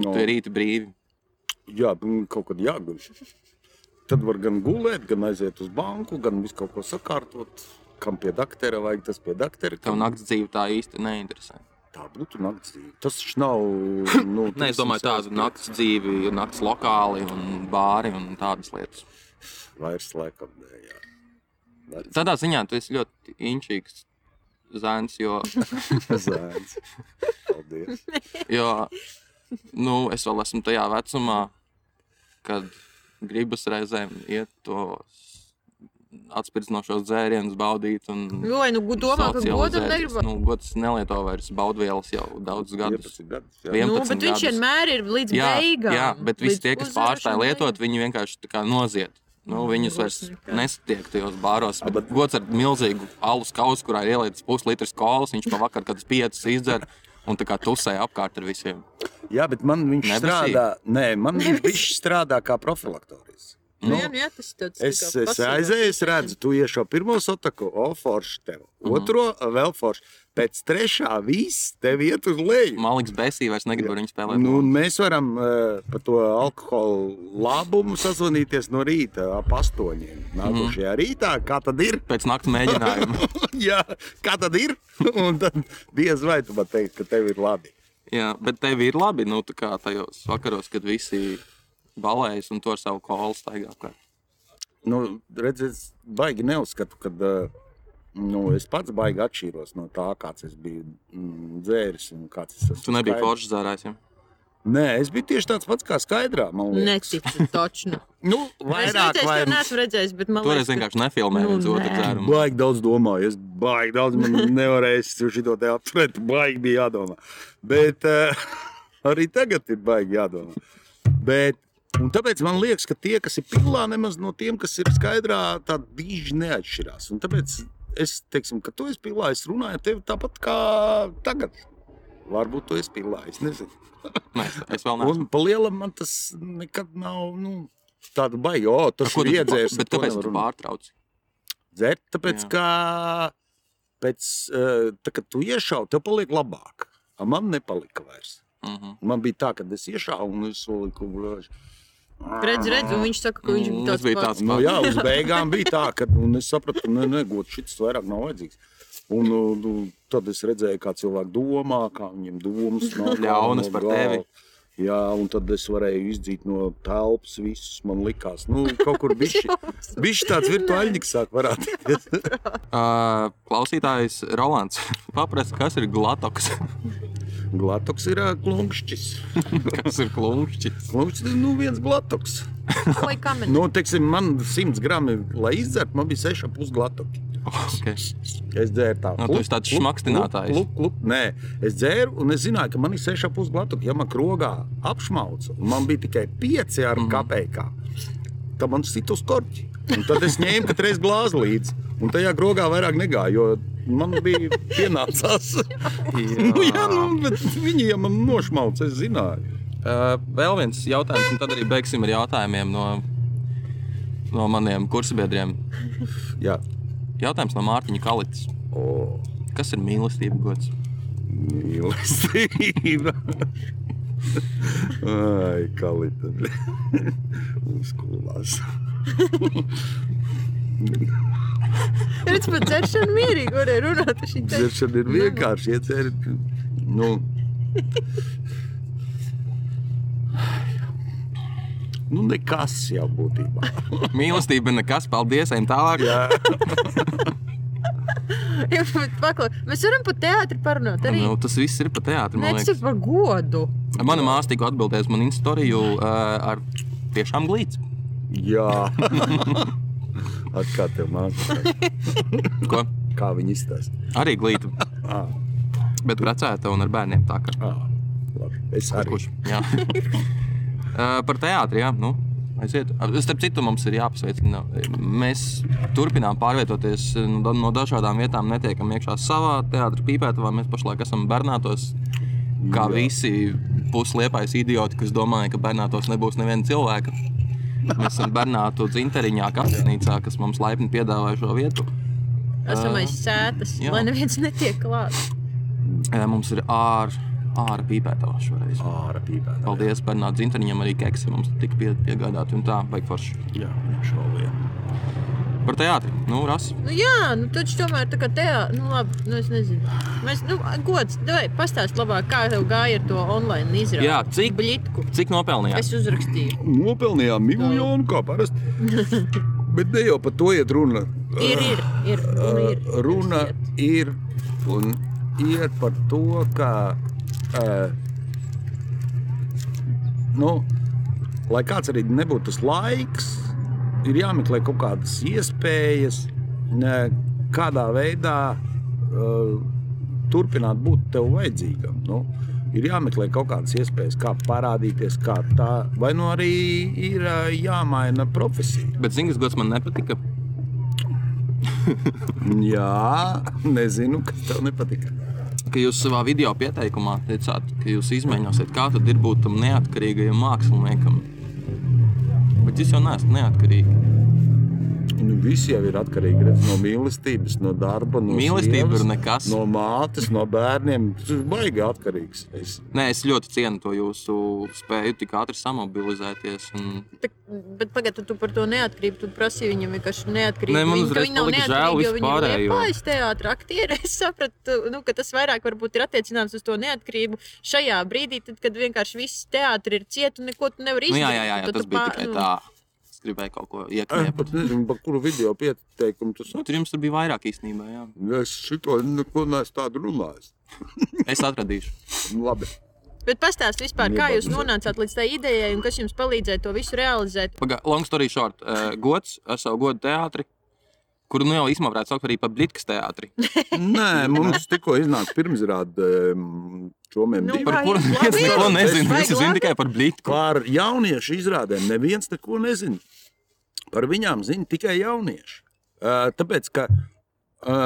[SPEAKER 1] No,
[SPEAKER 3] Tu ir rīta brīvi.
[SPEAKER 1] jā, nu, kaut kad jāguļ. Tad var gan gulēt, gan aiziet uz banku, gan visu kaut ko sakārtot. Kam pie daktera vajag, tas pie daktera.
[SPEAKER 3] Tev
[SPEAKER 1] kam-
[SPEAKER 3] naktas dzīve tā īsti neinteresē.
[SPEAKER 1] Tā būtu nakts dzīve. Tas taču nav. Nu,
[SPEAKER 3] Nē, es domāju, tādu naktas dzīvi, naktas lokāli un bāri un tādas lietas.
[SPEAKER 1] Vairs laikam, nē, jā. Vairs
[SPEAKER 3] Tādā ziņā tu esi ļoti inčīgs zēns, jo,
[SPEAKER 1] Zēns. Paldies.
[SPEAKER 3] jo nu, es vēl esmu tajā vecumā, kad gribas reizēm iet tos atspirdzinošos dzērienus baudīt. Un...
[SPEAKER 4] Jo, nu, domā, ka godam
[SPEAKER 3] socializēties.
[SPEAKER 4] negrib.
[SPEAKER 3] Nu, gods nelieto vairs baudvielas jau daudzus gadus.
[SPEAKER 1] 11 gadus. jā.
[SPEAKER 3] Vien-
[SPEAKER 4] Nu,
[SPEAKER 3] 11
[SPEAKER 4] bet viņš
[SPEAKER 3] gadus.
[SPEAKER 4] vienmēr ir līdz
[SPEAKER 3] Jā,
[SPEAKER 4] beigām.
[SPEAKER 3] jā, bet visi
[SPEAKER 4] līdz
[SPEAKER 3] tie, kas pārstāja
[SPEAKER 4] uzvarēšanai. Mm.
[SPEAKER 3] lietot, viņi vienkārši tā kā noziet. Nu, viņus vairs
[SPEAKER 4] Nekā.
[SPEAKER 3] nesatiek tajos bāros. Bet Gods ar milzīgu alus kausu, kurā ir ielietas puslitras kolas, viņš pavakar kaut kādas piecas izdzer un tā kā tusē apkārt ar visiem.
[SPEAKER 1] Jā, bet man viņš
[SPEAKER 3] Nebesī?
[SPEAKER 1] strādā. Nē, man viņš strādā kā profilaktoris.
[SPEAKER 4] Nu, jā, nu, jā, tas ir tāds
[SPEAKER 1] Es,
[SPEAKER 4] tā kā
[SPEAKER 1] es
[SPEAKER 4] pasīvs.
[SPEAKER 1] aizēju, es redzu, tu iešo pirmo sotaku, o, forši tev.
[SPEAKER 3] Mhm.
[SPEAKER 1] Otro, e, vēl forši. Pēc trešā viss tev iet uz leju.
[SPEAKER 3] Maliks Besī vairs negrib ar viņu spēlēt.
[SPEAKER 1] Nu, un mēs varam uh, par to alkohola labumu sazvanīties no rīta ap astoņiem.
[SPEAKER 3] Mhm.
[SPEAKER 1] Nākošajā rītā, kā tad ir?
[SPEAKER 3] Pēc naktas mēģinājuma.
[SPEAKER 1] Jā, kā tad ir? Un tad diez vai tu man teiksi, ka tev ir labi.
[SPEAKER 3] Jā, bet tev ir labi, nu, tā kā tajos vakaros, kad visi balējas un to ar savu kolu staigā apkārt.
[SPEAKER 1] nu, redz, es baigi neuzskatu, ka nu, es pats baigi atšķīros no tā, kāds es biju mm, dzēris un kāds es esmu.
[SPEAKER 3] Tu nebija
[SPEAKER 1] skaidrs.
[SPEAKER 3] foršs zārājs, ja?
[SPEAKER 1] Nē, es biju tieši tāds pats kā skaidrā. man liekas.
[SPEAKER 4] Neticu, taču. nu.
[SPEAKER 1] Nu,
[SPEAKER 4] Es
[SPEAKER 1] vairāk
[SPEAKER 4] redzēju,
[SPEAKER 1] vai
[SPEAKER 4] es neesmu redzējis, bet man
[SPEAKER 3] Toreiz
[SPEAKER 4] liekas,
[SPEAKER 3] vienkārši nefilmē
[SPEAKER 4] Nu,
[SPEAKER 3] viens otru
[SPEAKER 4] nē.
[SPEAKER 3] dzērumu.
[SPEAKER 1] Baigi daudz domāju, es baigi daudz man nevarēju šo te apturēt, baigi bija jādomā. Bet uh, arī tagad ir baigi jādomā. Bet, un tāpēc man liekas, ka tie, kas ir pilnā, nemaz no tiem, kas ir skaidrā, tā diži neatšķirās. Un tāpēc es teiktu, ka tu esi pilnā, es runāju ar tevi tāpat kā tagad. Varbūt tu esi pilnā, es nezinu.
[SPEAKER 3] Nē, es- es vēl neesmu.
[SPEAKER 1] Un pa lielam man tas nekad nav. Nu, Tāda baigta, oh, tas
[SPEAKER 3] Ko
[SPEAKER 1] ir
[SPEAKER 3] tu-
[SPEAKER 1] iedzērs.
[SPEAKER 3] Bet
[SPEAKER 1] ar to
[SPEAKER 3] tāpēc
[SPEAKER 1] nevar
[SPEAKER 3] tu
[SPEAKER 1] runāt."
[SPEAKER 3] pārtrauc.
[SPEAKER 1] dzert, tāpēc,
[SPEAKER 3] Jā.
[SPEAKER 1] ka pēc eh, tā, kad tu iešauji, tev paliek labāk. A Man nepalika vairs.
[SPEAKER 3] Mhm.
[SPEAKER 1] Man bija tā, ka es iešauju un es saliku. bļaž.
[SPEAKER 4] redz, redz, un viņš saka, ka viņš
[SPEAKER 3] Mm,
[SPEAKER 4] ir
[SPEAKER 3] tas
[SPEAKER 4] tāds
[SPEAKER 3] bija
[SPEAKER 4] pats.
[SPEAKER 3] tāds
[SPEAKER 1] Nu, jā, uz beigām bija tā, ka un es sapratu, ka negūts šis vairāk nav vajadzīgs. Un, un, un tad es redzēju, kā cilvēki domā, kā viņiem domas nav kā
[SPEAKER 3] Ļaunas
[SPEAKER 1] nav
[SPEAKER 3] par
[SPEAKER 1] galva.
[SPEAKER 3] tevi.
[SPEAKER 1] Jā, un tad es varēju izdzīt no telpas visus. Man likās, nu, kaut kur bija šis tāds virtuāļņiks, sāk varēties.
[SPEAKER 3] Ā, Klausītājs Rolands paprasta, kas ir glatoks,
[SPEAKER 1] Glatoks ir ā, klumpšķis.
[SPEAKER 3] kas ir klumpšķis.
[SPEAKER 1] Klumpšķis ir nu, viens glatoks.
[SPEAKER 4] Vai kamerā?
[SPEAKER 1] Nu, teiksim, man 100 gramu, lai izdzertu, man bija 6,5 glatoki.
[SPEAKER 3] Okay.
[SPEAKER 1] Es dzēru tādu
[SPEAKER 3] Nu, tu esi tāds šmakstinātājs.
[SPEAKER 1] Lūk, lūk, nē, es dzēru, un es zināju, ka man ir 6,5 glatoki. Ja man krogā apšmauca, un man bija tikai 5
[SPEAKER 3] Mhm.
[SPEAKER 1] ar mm -hmm. kapekā, tad man sit uz korķi. Un tad es ņēmu katru reizi glāzi līdzi, un tajā grogā vairāk negāju, jo man bija pienācās. nu, jā, nu, bet viņi jau man nošmauca, es zināju.
[SPEAKER 3] Ā, Eh, Vēl viens jautājums, un tad arī beigsim ar jautājumiem no, no maniem kursabiedriem.
[SPEAKER 1] Jā.
[SPEAKER 3] Jautājums no Mārtiņa Kalitas.
[SPEAKER 1] O.
[SPEAKER 3] Kas ir mīlestība gods?
[SPEAKER 1] Mīlestība. Ai, kā līnija. Uz skolās.
[SPEAKER 4] Redz, pat dzeršana mierīgi varēja runāt. ar šī te-
[SPEAKER 1] Dzeršana ir vienkārši iedzērt. Nu, nu, nekas jau būtībā.
[SPEAKER 3] Mīlestība nekas, paldies, ejam tālāk.
[SPEAKER 1] Jā,
[SPEAKER 4] Jā, bet paklau, Mēs varam par teātri parunāt arī.
[SPEAKER 3] Nu, tas viss ir pa teātrim.
[SPEAKER 4] Nē, tas ir par godu.
[SPEAKER 3] Mana māsa tikko atbildēja uz manu instoriju uh, ar tiešām glīts.
[SPEAKER 1] jā. Atkal tev mācās,
[SPEAKER 3] Ko?
[SPEAKER 1] kā viņi izstāsta.
[SPEAKER 3] Arī glīta,
[SPEAKER 1] Ah,
[SPEAKER 3] bet precēta un ar bērniem tā kā.
[SPEAKER 1] ah, labi, es arī.
[SPEAKER 3] Kurš? Jā. uh, par teātri, jā. Nu. Aiziet. Starp citu, mums ir jāapsveicina. Mēs turpinām pārvietoties nu, da- no dažādām vietām, netiekam iekšā savā teātrī, pīpētavā. Mēs pašlaik esam Bernātos, kā jā. visi pusliepais idioti, kas domāja, ka Bernātos nebūs neviena cilvēka. Mēs esam Bernāto dzinteriņā, kapsēnīcā, kas mums laipni piedāvāja šo vietu.
[SPEAKER 4] Esam aiz sētas,
[SPEAKER 3] jā.
[SPEAKER 4] lai neviens netiek klāts.
[SPEAKER 3] Ē, Mums ir ārā ār pīpētavā šoreiz.
[SPEAKER 1] Ārā pīpēta.
[SPEAKER 3] Paldies Bernāta Zinteriņam, arī keksi mums tika pie, piegādāti un tā, baigi forši.
[SPEAKER 1] Jā, šo lietu.
[SPEAKER 3] Par teātri. Nu, ras.
[SPEAKER 4] Nu, jā, nu taču tomēr tā kā teātris, nu labi, nu es nezinu. Mēs, nu, gods, vai pastāst labāk, kā tev gāja ar to online izrādi?
[SPEAKER 3] Jā, cik-
[SPEAKER 4] bļitku.
[SPEAKER 3] Cik nopelnījāt?
[SPEAKER 4] Es uzrakstīju.
[SPEAKER 1] Nopelnījām miljonu, kā parasti. Bet ne jau par to iet runa.
[SPEAKER 4] Ir, ir, ir. Runa ir.
[SPEAKER 1] Eh, runa
[SPEAKER 4] Jums iet.
[SPEAKER 1] ir un iet par to, ka. Uh, nu, lai kāds arī nebūtu tas laiks, ir jāmeklē kaut kādas iespējas, ne, kādā veidā uh, turpināt būt tev vajadzīgam. Nu, ir jāmeklē kaut kādas iespējas, kā parādīties, kā tā, vai nu arī ir uh, jāmaina profesija.
[SPEAKER 3] Bet zini, kas gods man nepatika.
[SPEAKER 1] Jā, nezinu, kas tev nepatika.
[SPEAKER 3] Ka jūs savā video pieteikumā teicāt, ka jūs izmēģināsiet, kā tad ir būt tam neatkarīgajam māksliniekam. Bet jūs jau neesat neatkarīgi.
[SPEAKER 1] Nu, visi jau ir atkarīgi redz, no mīlestības, no darba, no
[SPEAKER 3] Mīlestība
[SPEAKER 1] sievas,
[SPEAKER 3] ir nekas.
[SPEAKER 1] no mātes, no bērniem. Tas ir baigi atkarīgs. Es,
[SPEAKER 3] Nē, es ļoti cienu to jūsu spēju tik ātri samobilizēties. Un...
[SPEAKER 4] Tak, Bet pagaidu, tu par to neatkarību. Tu prasīji viņam vienkārši
[SPEAKER 3] Nē,
[SPEAKER 4] neatkarību.
[SPEAKER 3] man
[SPEAKER 4] Viņa- ka
[SPEAKER 3] uzreiz
[SPEAKER 4] viņa nav
[SPEAKER 3] palika žēl
[SPEAKER 4] neatkarīga, jo viņa
[SPEAKER 3] vispārējo.
[SPEAKER 4] ir pārējais teātris, aktieris. Es sapratu, nu, ka tas vairāk varbūt ir attiecināms uz to neatkarību šajā brīdī, tad, kad vienkārši viss teātris ir cieta un neko tu nevari
[SPEAKER 3] Nu,
[SPEAKER 4] izdarīt.
[SPEAKER 3] jā, jā, jā, jā,
[SPEAKER 4] Tad
[SPEAKER 3] tas
[SPEAKER 4] tu
[SPEAKER 3] bija
[SPEAKER 4] pār-
[SPEAKER 3] tikai
[SPEAKER 4] nu,
[SPEAKER 3] tā. Es gribēju kaut ko
[SPEAKER 1] es
[SPEAKER 3] iekļūt.
[SPEAKER 1] eh, pat nezinu, par kuru video pieteikumu tas ir.
[SPEAKER 3] Tur jums tur bija vairāk īstenībā. Jā.
[SPEAKER 1] Es šito neko neesmu tādu runājis. Nu,
[SPEAKER 3] Es atradīšu.
[SPEAKER 1] Labi.
[SPEAKER 4] Bet pastāstiet vispār, kā
[SPEAKER 1] Nebaudu.
[SPEAKER 4] jūs nonācāt līdz tai idejai un kas jums palīdzēja to visu realizēt.
[SPEAKER 3] Paga, long story short, uh, gods, es savu godu teātri, kuru nu jau īstenībā varētu saukt arī par Blitkas teātri.
[SPEAKER 1] Nē, mums tikko iznāca pirmsrāde um, čomiem
[SPEAKER 4] Nu,
[SPEAKER 1] nu, divi.
[SPEAKER 3] Par
[SPEAKER 4] Vai
[SPEAKER 3] kuru
[SPEAKER 4] jūs
[SPEAKER 3] neviens
[SPEAKER 4] labi?
[SPEAKER 3] neko nezina.
[SPEAKER 4] Vai
[SPEAKER 3] Visi zina
[SPEAKER 4] labi?
[SPEAKER 3] tikai par Blitku.
[SPEAKER 1] Par jauniešu izrādēm neviens neko nezina. Par viņām zina tikai jaunieši. Ā, Tāpēc, ka ā,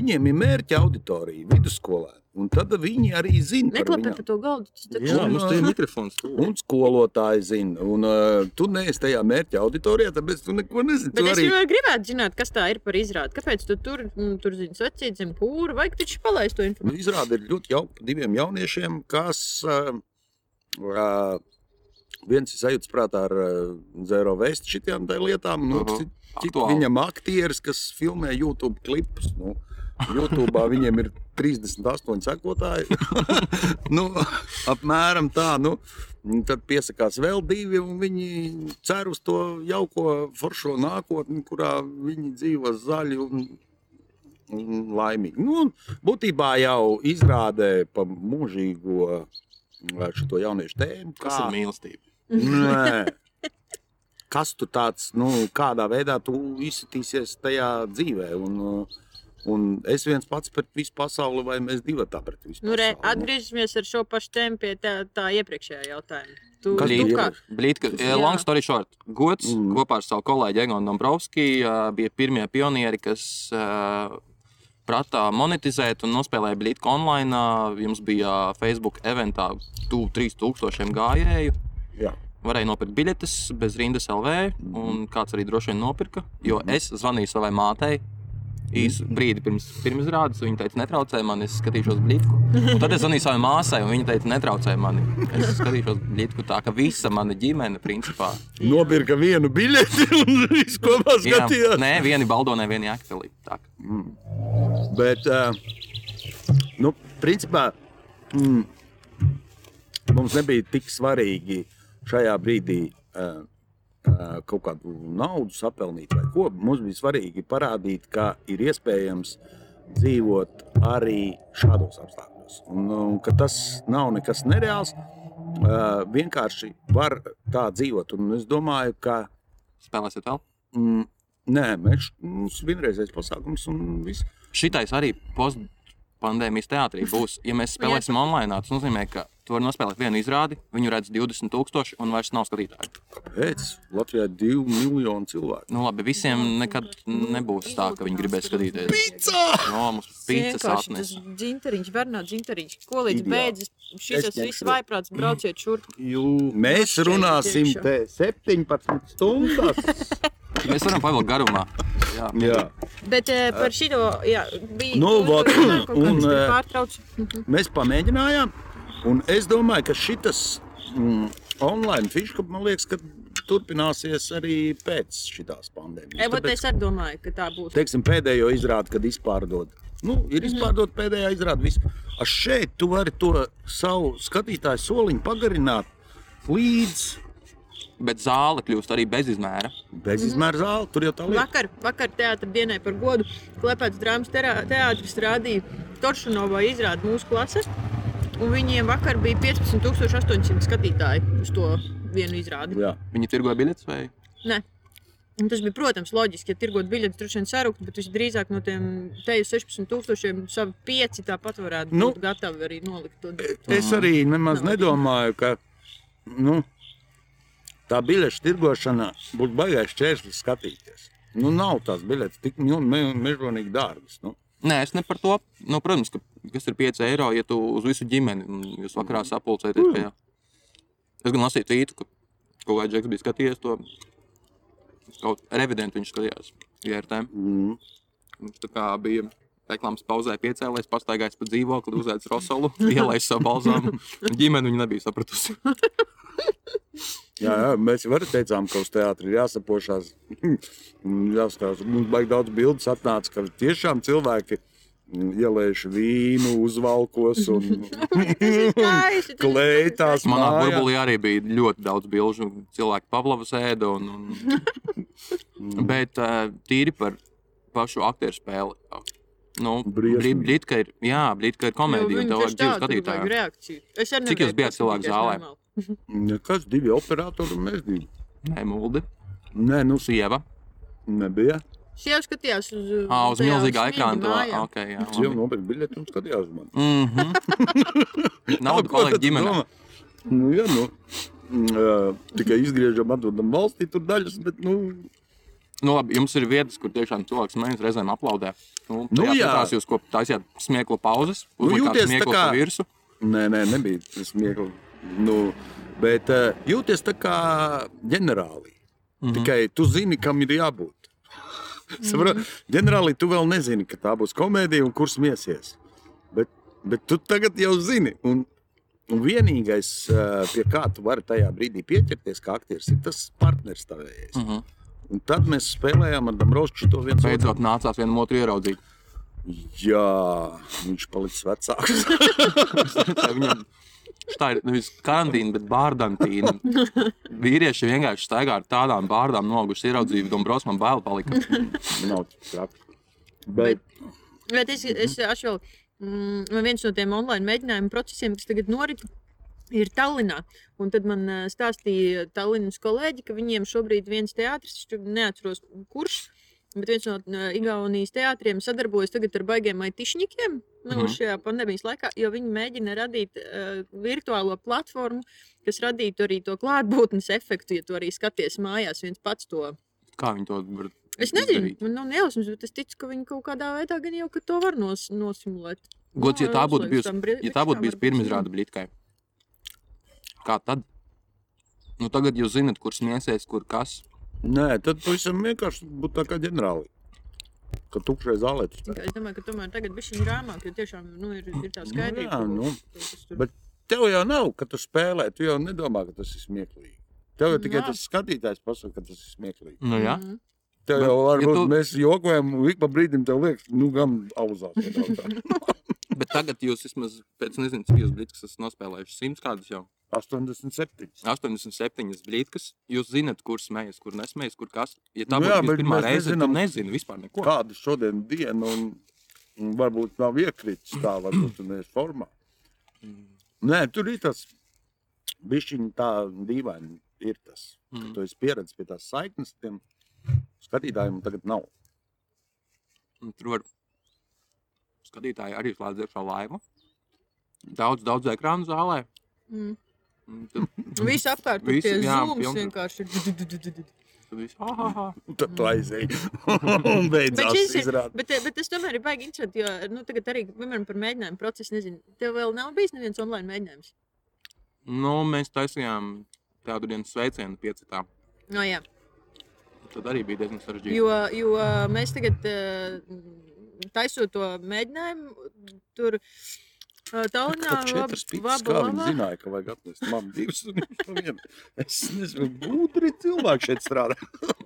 [SPEAKER 1] viņiem ir mērķa auditorija vidusskolē, un tad viņi arī zina. Nu, par
[SPEAKER 4] Neklapē
[SPEAKER 1] viņām.
[SPEAKER 4] par to galdu. Tas taču-
[SPEAKER 1] Jā, mums te ir
[SPEAKER 3] mikrofons.
[SPEAKER 1] Un skolotāji zina, un uh, tu neesi tajā mērķa auditorijā, tāpēc tu neko nezini.
[SPEAKER 4] Bet
[SPEAKER 1] Tu
[SPEAKER 4] es
[SPEAKER 1] arī...
[SPEAKER 4] vienmēr gribētu zināt, kas tā ir par izrādi. Kāpēc tu tur, nu, tur zini, sacīt zem pūra, vai taču palaist to
[SPEAKER 1] Nu,
[SPEAKER 4] informāciju?
[SPEAKER 1] Izrāda ir ļoti jauka diviem jauniešiem, kas uh, uh, viens ir sajūta prātā ar uh, zero vēstu šitām tai lietām. Nu,
[SPEAKER 3] Aha.
[SPEAKER 1] cit, cit,
[SPEAKER 3] Aktuāli.
[SPEAKER 1] viņam aktieris, kas filmē YouTube klipus. Nu, YouTube viņiem ir 38 sekotāji. nu, apmēram tā. Nu, un tad piesakās vēl divi, un viņi cer uz to jauko, foršo nākotni, kurā viņi dzīvo zaļi un, un laimīgi. Nu, un būtībā jau izrādē pa mūžīgo eh, šo jauniešu tēmu.
[SPEAKER 3] Kas ir mīlestība?
[SPEAKER 1] Nē. Kas tu tāds, nu, kādā veidā tu izsitīsies tajā dzīvē? Un, uh, un es viens pats pret visu pasauli, vai mēs divi tā pret visu
[SPEAKER 4] Nu, re,
[SPEAKER 1] pasauli?
[SPEAKER 4] atgriežamies ar šo pašu tēmu pie tā, tā iepriekšējā jautājuma. Tu,
[SPEAKER 1] Kas
[SPEAKER 4] tu
[SPEAKER 1] bija
[SPEAKER 4] kā,
[SPEAKER 1] iepriekš?
[SPEAKER 3] Blīdka,
[SPEAKER 4] Jā.
[SPEAKER 3] eh, long story short, gods mm.
[SPEAKER 1] Mm.
[SPEAKER 3] kopā ar savu kolēģi Egonu Dombrovski uh, bija pirmie pionieri, kas uh, prata monetizēt un nospēlēja Blīdku online. Uh, jums bija Facebook eventā tuvu 3000 gājēju.
[SPEAKER 1] Jā.
[SPEAKER 3] Varēja nopirkt biļetes bez rindas LV, un kāds arī droši vien nopirka. Jo es zvanīju savai mātei, īsu brīdi pirms, pirms rādes. Viņa teica, netraucē man, es skatīšos blīdku. Un tad es zvanīju savai māsai, un viņa teica, netraucē man. Es skatīšos blīdku tā, ka visa mana ģimene, principā,
[SPEAKER 1] Nopirka vienu biļeti un viss kopā
[SPEAKER 3] vienam,
[SPEAKER 1] skatījās.
[SPEAKER 3] nē, vieni baldonē, vieni aktelī. Tā.
[SPEAKER 1] Bet, ā, nu, principā, mm, mums nebija tik svarīgi šajā brīdī ā, ā, kaut kādu naudu sapelnīt vai ko. Mums bija svarīgi parādīt, ka ir iespējams dzīvot arī šādos apstākļos. Un, un ka tas nav nekas nereāls. ā, Vienkārši var tā dzīvot. Un es domāju, ka
[SPEAKER 3] Spēlēsiet vēl?
[SPEAKER 1] mm, nē, mēs, mums ir vienreizējais pasākums un viss.
[SPEAKER 3] Šitais arī postpandēmijas teātrī būs. Ja mēs spēlēsim online, tas nozīmē, ka tu vari nospēlēt vienu izrādi, viņu redz 20,000 un vairs nav skatītāju.
[SPEAKER 1] Kāpēc? Latvijā ir divi miljoni cilvēku.
[SPEAKER 3] Nu, labi, visiem nekad nebūs tā, ka viņi gribēs skatīties.
[SPEAKER 1] Pizza!
[SPEAKER 3] No mums pīcis
[SPEAKER 4] Vienkārši tas
[SPEAKER 3] atnes.
[SPEAKER 4] dzinteriņš, Bernāts dzinteriņš, ko līdz
[SPEAKER 1] Ideāli.
[SPEAKER 4] beidzas šis
[SPEAKER 1] Es ņemšu.
[SPEAKER 4] viss vaiprāts, brauciet šurp.
[SPEAKER 1] Mēs runāsim te 17 stundas.
[SPEAKER 3] Mēs varam pavilkt garumā. Jā.
[SPEAKER 1] Jā.
[SPEAKER 4] Bet eh, par šito, jā, bija
[SPEAKER 1] Nu,
[SPEAKER 4] tu-
[SPEAKER 1] vot,
[SPEAKER 4] tu runā kaut
[SPEAKER 1] un,
[SPEAKER 4] kāds,
[SPEAKER 1] eh,
[SPEAKER 4] pārtrauc. Mhm.
[SPEAKER 1] Mēs pamēģinājām, un es domāju, ka šitas mm, online fiškups man liekas, ka turpināsies arī pēc šitās
[SPEAKER 4] E,
[SPEAKER 1] pandēmijas.
[SPEAKER 4] vot Es Mhm. arī domāju, ka tā būs.
[SPEAKER 1] teiksim, pēdējo izrādi, kad izpārdod. Nu, ir izpārdot pēdējā izrāde. viss. A šeit tu vari to savu skatītāju soliņu pagarināt līdz
[SPEAKER 3] Bet zāle kļūst arī bezizmēra.
[SPEAKER 1] bezizmēra zāli. Tur jau tā lieta.
[SPEAKER 4] Vakar, vakar teātris dienai par godu Klepētas drāmas terā- teātris rādīja Toršunovā izrādi mūsu klasē. Un viņiem vakar bija 15,800 skatītāji uz to vienu izrādi.
[SPEAKER 1] Jā.
[SPEAKER 3] Viņi tirgoja biļetes vai?
[SPEAKER 4] Nē. Un tas bija, protams, loģiski, ja tirgot biļetes, droši vien sarūkt, bet visdrīzāk no tiem teju 16,000 savi pieci tāpat varētu
[SPEAKER 1] Nu.
[SPEAKER 4] nu, būt gatavi arī nolikt. Un...
[SPEAKER 1] Es arī nemaz
[SPEAKER 4] Nav.
[SPEAKER 1] nedomāju, ka nu, tā biļešu tirgošana būtu baigājis čērslis skatīties. Nu, nav tās biļetes tik nu, me- mežonīgi dārgas. Nu.
[SPEAKER 3] Nē, es ne par to. Nu, protams, ka, kas ir 5 eiro, ja tu uz visu ģimeni un jūs vakarā sapulcēties. Pie... Es gan lasīju tītu, ka kaut kāds džeks bija skatījies to. Kaut revidenti viņš skatījās IRTM.
[SPEAKER 1] Mm.
[SPEAKER 3] Viņš tā kā bija reklāmas pauzē piecēlējis, pastaigājis pa dzīvokli, uzēdis rosolu, ielaist savu balzāmu. Ģimene viņa nebija sapratusi.
[SPEAKER 1] Jā, jā, mēs jau arī teicām, ka uz teātra ir jāsapošās. un Jāskatās, mums baigi daudz bildes atnāca, ka tiešām cilvēki mm, ielējuši vīnu uzvalkos un klētās
[SPEAKER 3] Manā
[SPEAKER 1] mājā.
[SPEAKER 3] burbulī arī bija ļoti daudz bilžu. Cilvēki Pavlovas ēda. Un, un... Bet eh, tīri par pašu aktieru spēli. Nu,
[SPEAKER 1] Briesmīgi.
[SPEAKER 3] brī- Brīdka ir, jā, Brīdka ir komēdija. un Tev vajag dzīves
[SPEAKER 4] skatītāju
[SPEAKER 3] skatītāju.
[SPEAKER 4] reakciju. Es
[SPEAKER 3] Cik jūs
[SPEAKER 4] arī nevarēju
[SPEAKER 3] bijāt cilvēku
[SPEAKER 4] paskatīties
[SPEAKER 3] zālē?
[SPEAKER 4] normāli.
[SPEAKER 1] Nekas, divi operatori un mēs divi.
[SPEAKER 3] Nē, Muldi,
[SPEAKER 1] Nē, nu,
[SPEAKER 3] Sieva.
[SPEAKER 1] nebija.
[SPEAKER 4] Šie skatījās uz,
[SPEAKER 3] Ā, uz
[SPEAKER 4] tajā
[SPEAKER 3] milzīgā
[SPEAKER 4] smīdu
[SPEAKER 3] ekrāna. to-
[SPEAKER 4] mājā.
[SPEAKER 3] Okay, jā,
[SPEAKER 1] Es jau
[SPEAKER 3] labi.
[SPEAKER 1] nopirku biļeti un skatījos uz mani.
[SPEAKER 3] Mhm. Nauda paliek ģimenē.
[SPEAKER 1] Nu, jā, nu, mm, ā, tikai izgriežam, atdodam valstī tur daļas, bet, nu,
[SPEAKER 3] Nu, labi, jums ir vietas, kur tiešām cilvēks mēģina reizēm aplaudē. Nu,
[SPEAKER 1] Nu,
[SPEAKER 3] nu, jā,
[SPEAKER 1] jā.
[SPEAKER 3] tas jūs kopā taisījāt smieklu pauzes,
[SPEAKER 1] Nu,
[SPEAKER 3] uzlikāt
[SPEAKER 1] jūties tā
[SPEAKER 3] smieklu
[SPEAKER 1] kā-
[SPEAKER 3] pa virsmu.
[SPEAKER 1] nē, nē, nebija tas viegli. Nu, bet ā, jūties tā kā ģenerāli. Mm -hmm. Tikai tu zini, kam ir jābūt. Saprot, ģenerāli tu vēl nezini, ka tā būs komēdija un kur smiesies. Bet, bet tu tagad jau zini. Un, un vienīgais, ā, pie kā tu vari tajā brīdī pieķerties, kā aktieris, ir tas partneris tavējais. Mm
[SPEAKER 3] Mhm.
[SPEAKER 1] -hmm. Un tad mēs spēlējām ar Dabrošu to viens otru.
[SPEAKER 3] Beidzot, nācās vienam otru ieraudzīt.
[SPEAKER 1] Jā, viņš palicis vecāks.
[SPEAKER 3] Tā Viņam, tā ir nevis karantīna, bet bārdantīna. Vīrieši vienkārši staigā ar tādām bārdām noguši ieraudzīju, Dombrovs man bail palika.
[SPEAKER 1] Nav tik traki. Bet,
[SPEAKER 4] Bet es, es ašu vēl, mm, man viens no tiem online mēģinājumu procesiem, kas tagad norit, ir Tallinā. Un tad man ā, stāstīja Tallinas kolēģi, ka viņiem šobrīd viens teātris, es tur neatceros kurš, bet viens no ā, Igaunijas teātriem sadarbojas tagad ar baigiem aitišņikiem. Nu,
[SPEAKER 3] Mhm.
[SPEAKER 4] šajā pandēmijas laikā, jo viņi mēģina radīt uh, virtuālo platformu, kas radītu arī to klātbūtnes efektu, ja tu arī skaties mājās viens pats to
[SPEAKER 3] Kā viņi to var?
[SPEAKER 4] Es nezinu,
[SPEAKER 3] izdarīt?
[SPEAKER 4] man nav nejausmas, bet es ticu, ka viņi kaut kādā veidā gan jau ka to var nos, nosimulēt.
[SPEAKER 3] Gods, ja
[SPEAKER 4] Jā,
[SPEAKER 3] tā
[SPEAKER 4] jā,
[SPEAKER 3] būtu
[SPEAKER 4] uzliek
[SPEAKER 3] bijusi,
[SPEAKER 4] tam bri-
[SPEAKER 3] ja tā būtu
[SPEAKER 4] rikšām
[SPEAKER 3] bijusi
[SPEAKER 4] varbūt,
[SPEAKER 3] pirmizrāda blitkai. Kā tad? Nu, tagad jūs zinat, kur smiesies, kur kas.
[SPEAKER 1] nē, tad pavisam vienkārši būtu tā kā ģenerāli. ka tukšai zālē tas
[SPEAKER 4] Es domāju, ka tomēr tagad bija šī grāmata, jo tiešām nu, ir, ir tā skaidrība.
[SPEAKER 1] jā,
[SPEAKER 4] ko-
[SPEAKER 1] nu.
[SPEAKER 4] ko tas tur-
[SPEAKER 1] Bet tev jau nav, ka tu spēlē, tu jau nedomā, ka tas ir smieklīgi. Tev jau tikai
[SPEAKER 4] Nā.
[SPEAKER 1] tas skatītājs pasaka, ka tas ir smieklīgi.
[SPEAKER 3] Nu, jā.
[SPEAKER 4] Mhm.
[SPEAKER 1] Tev
[SPEAKER 3] Bet,
[SPEAKER 1] jau
[SPEAKER 3] ja
[SPEAKER 1] varbūt
[SPEAKER 3] tu-
[SPEAKER 1] ja tu... mēs jokojam, un ik pa brīdim tev liekas, nu, gan auzās. ja tev tā.
[SPEAKER 3] Bet tagad jūs vismaz pēc nezinu, cik jūs blīdīs esat nospēlējuši simts kādus jau.
[SPEAKER 1] 87.
[SPEAKER 3] 87 blīdīs. Jūs zināt, kur smējas, kur nesmējas, kur kas. Ja tā
[SPEAKER 1] Nu
[SPEAKER 3] būtu
[SPEAKER 1] jā,
[SPEAKER 3] nu
[SPEAKER 1] bet
[SPEAKER 3] pirmā
[SPEAKER 1] mēs
[SPEAKER 3] reize, tad
[SPEAKER 1] nezinām.
[SPEAKER 3] nezinu vispār neko. Kā?
[SPEAKER 1] Kāda šodien diena, un, un varbūt nav iekritis tā, varbūt tu neesi formā. Nē, tur ir tas bišķiņ tā dīvaini ir tas. Mm.
[SPEAKER 3] Mm.
[SPEAKER 1] Tu esi pieredzis pie tās saiknes, tiem skatītājiem tagad nav.
[SPEAKER 3] Tur var skatītāji arī slēdz iekšā laivu. Daudz, daudz ekrānu zālē.
[SPEAKER 4] Mm.
[SPEAKER 3] Un Tad,
[SPEAKER 4] Viss apkārt tur
[SPEAKER 3] Visi,
[SPEAKER 4] tie
[SPEAKER 3] jā,
[SPEAKER 4] zūms
[SPEAKER 3] pilnīgi.
[SPEAKER 4] vienkārši ir.
[SPEAKER 3] tad viss, ah, ah, ah.
[SPEAKER 1] Un Tad tu aizēji un
[SPEAKER 4] Bet,
[SPEAKER 1] beidzās
[SPEAKER 4] šis ir,
[SPEAKER 1] izrādīt.
[SPEAKER 4] bet, eh, bet tas tomēr ir baigi interesanti, jo nu, tagad arī, piemēram, par mēģinājumu procesu, nezinu, tev vēl nav bijis neviens online mēģinājums.
[SPEAKER 3] Nu, mēs taisījām tādu dienu sveicienu piecitā.
[SPEAKER 4] No, jā,
[SPEAKER 3] Tad arī bija diezgan sarežģīti.
[SPEAKER 4] jo, jo mēs tagad eh, taisot to mēģinājumu, tur eh, tālrunā
[SPEAKER 1] Četras piecas, kā viņi zināja, ka vajag atnest man divas un viņš pa vienu. Es nezinu, gudri cilvēki šeit strādā.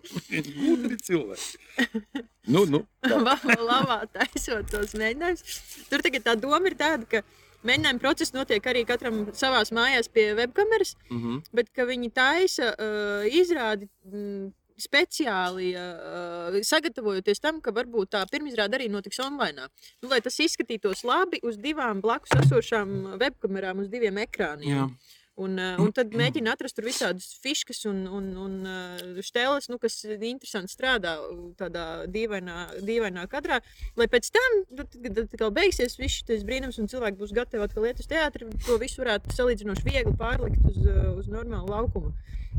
[SPEAKER 1] gudri cilvēki. Nu, nu, tā.
[SPEAKER 4] Lavā taisot tos mēģinājumus. Tur tagad tā doma ir tāda, ka mēģinājuma process notiek arī katram savās mājās pie webkameras.
[SPEAKER 3] Mm -hmm.
[SPEAKER 4] bet ka viņi taisa uh, izrādi mm, speciāli, uh, sagatavojoties tam, ka varbūt tā pirmizrāde arī notiks online. Nu, lai tas izskatītos labi uz divām blakus esošām eh, webkamerām, uz diviem ekrāniem.
[SPEAKER 3] Jā,
[SPEAKER 4] Un, uh, un tad mēģina atrast tur visādas fizikas un, un, un uh, stēles, nu, kas interesanti strādā uh, tādā dīvainā, dīvainā kadrā. Lai pēc tam, nu, tad, kad tad atkal beigsies viss šis brīnums, un cilvēki būs gatavi atkal iet uz teātri, to visu varētu salīdzinoši viegli pārlikt uz, uh, uz normālu laukumu.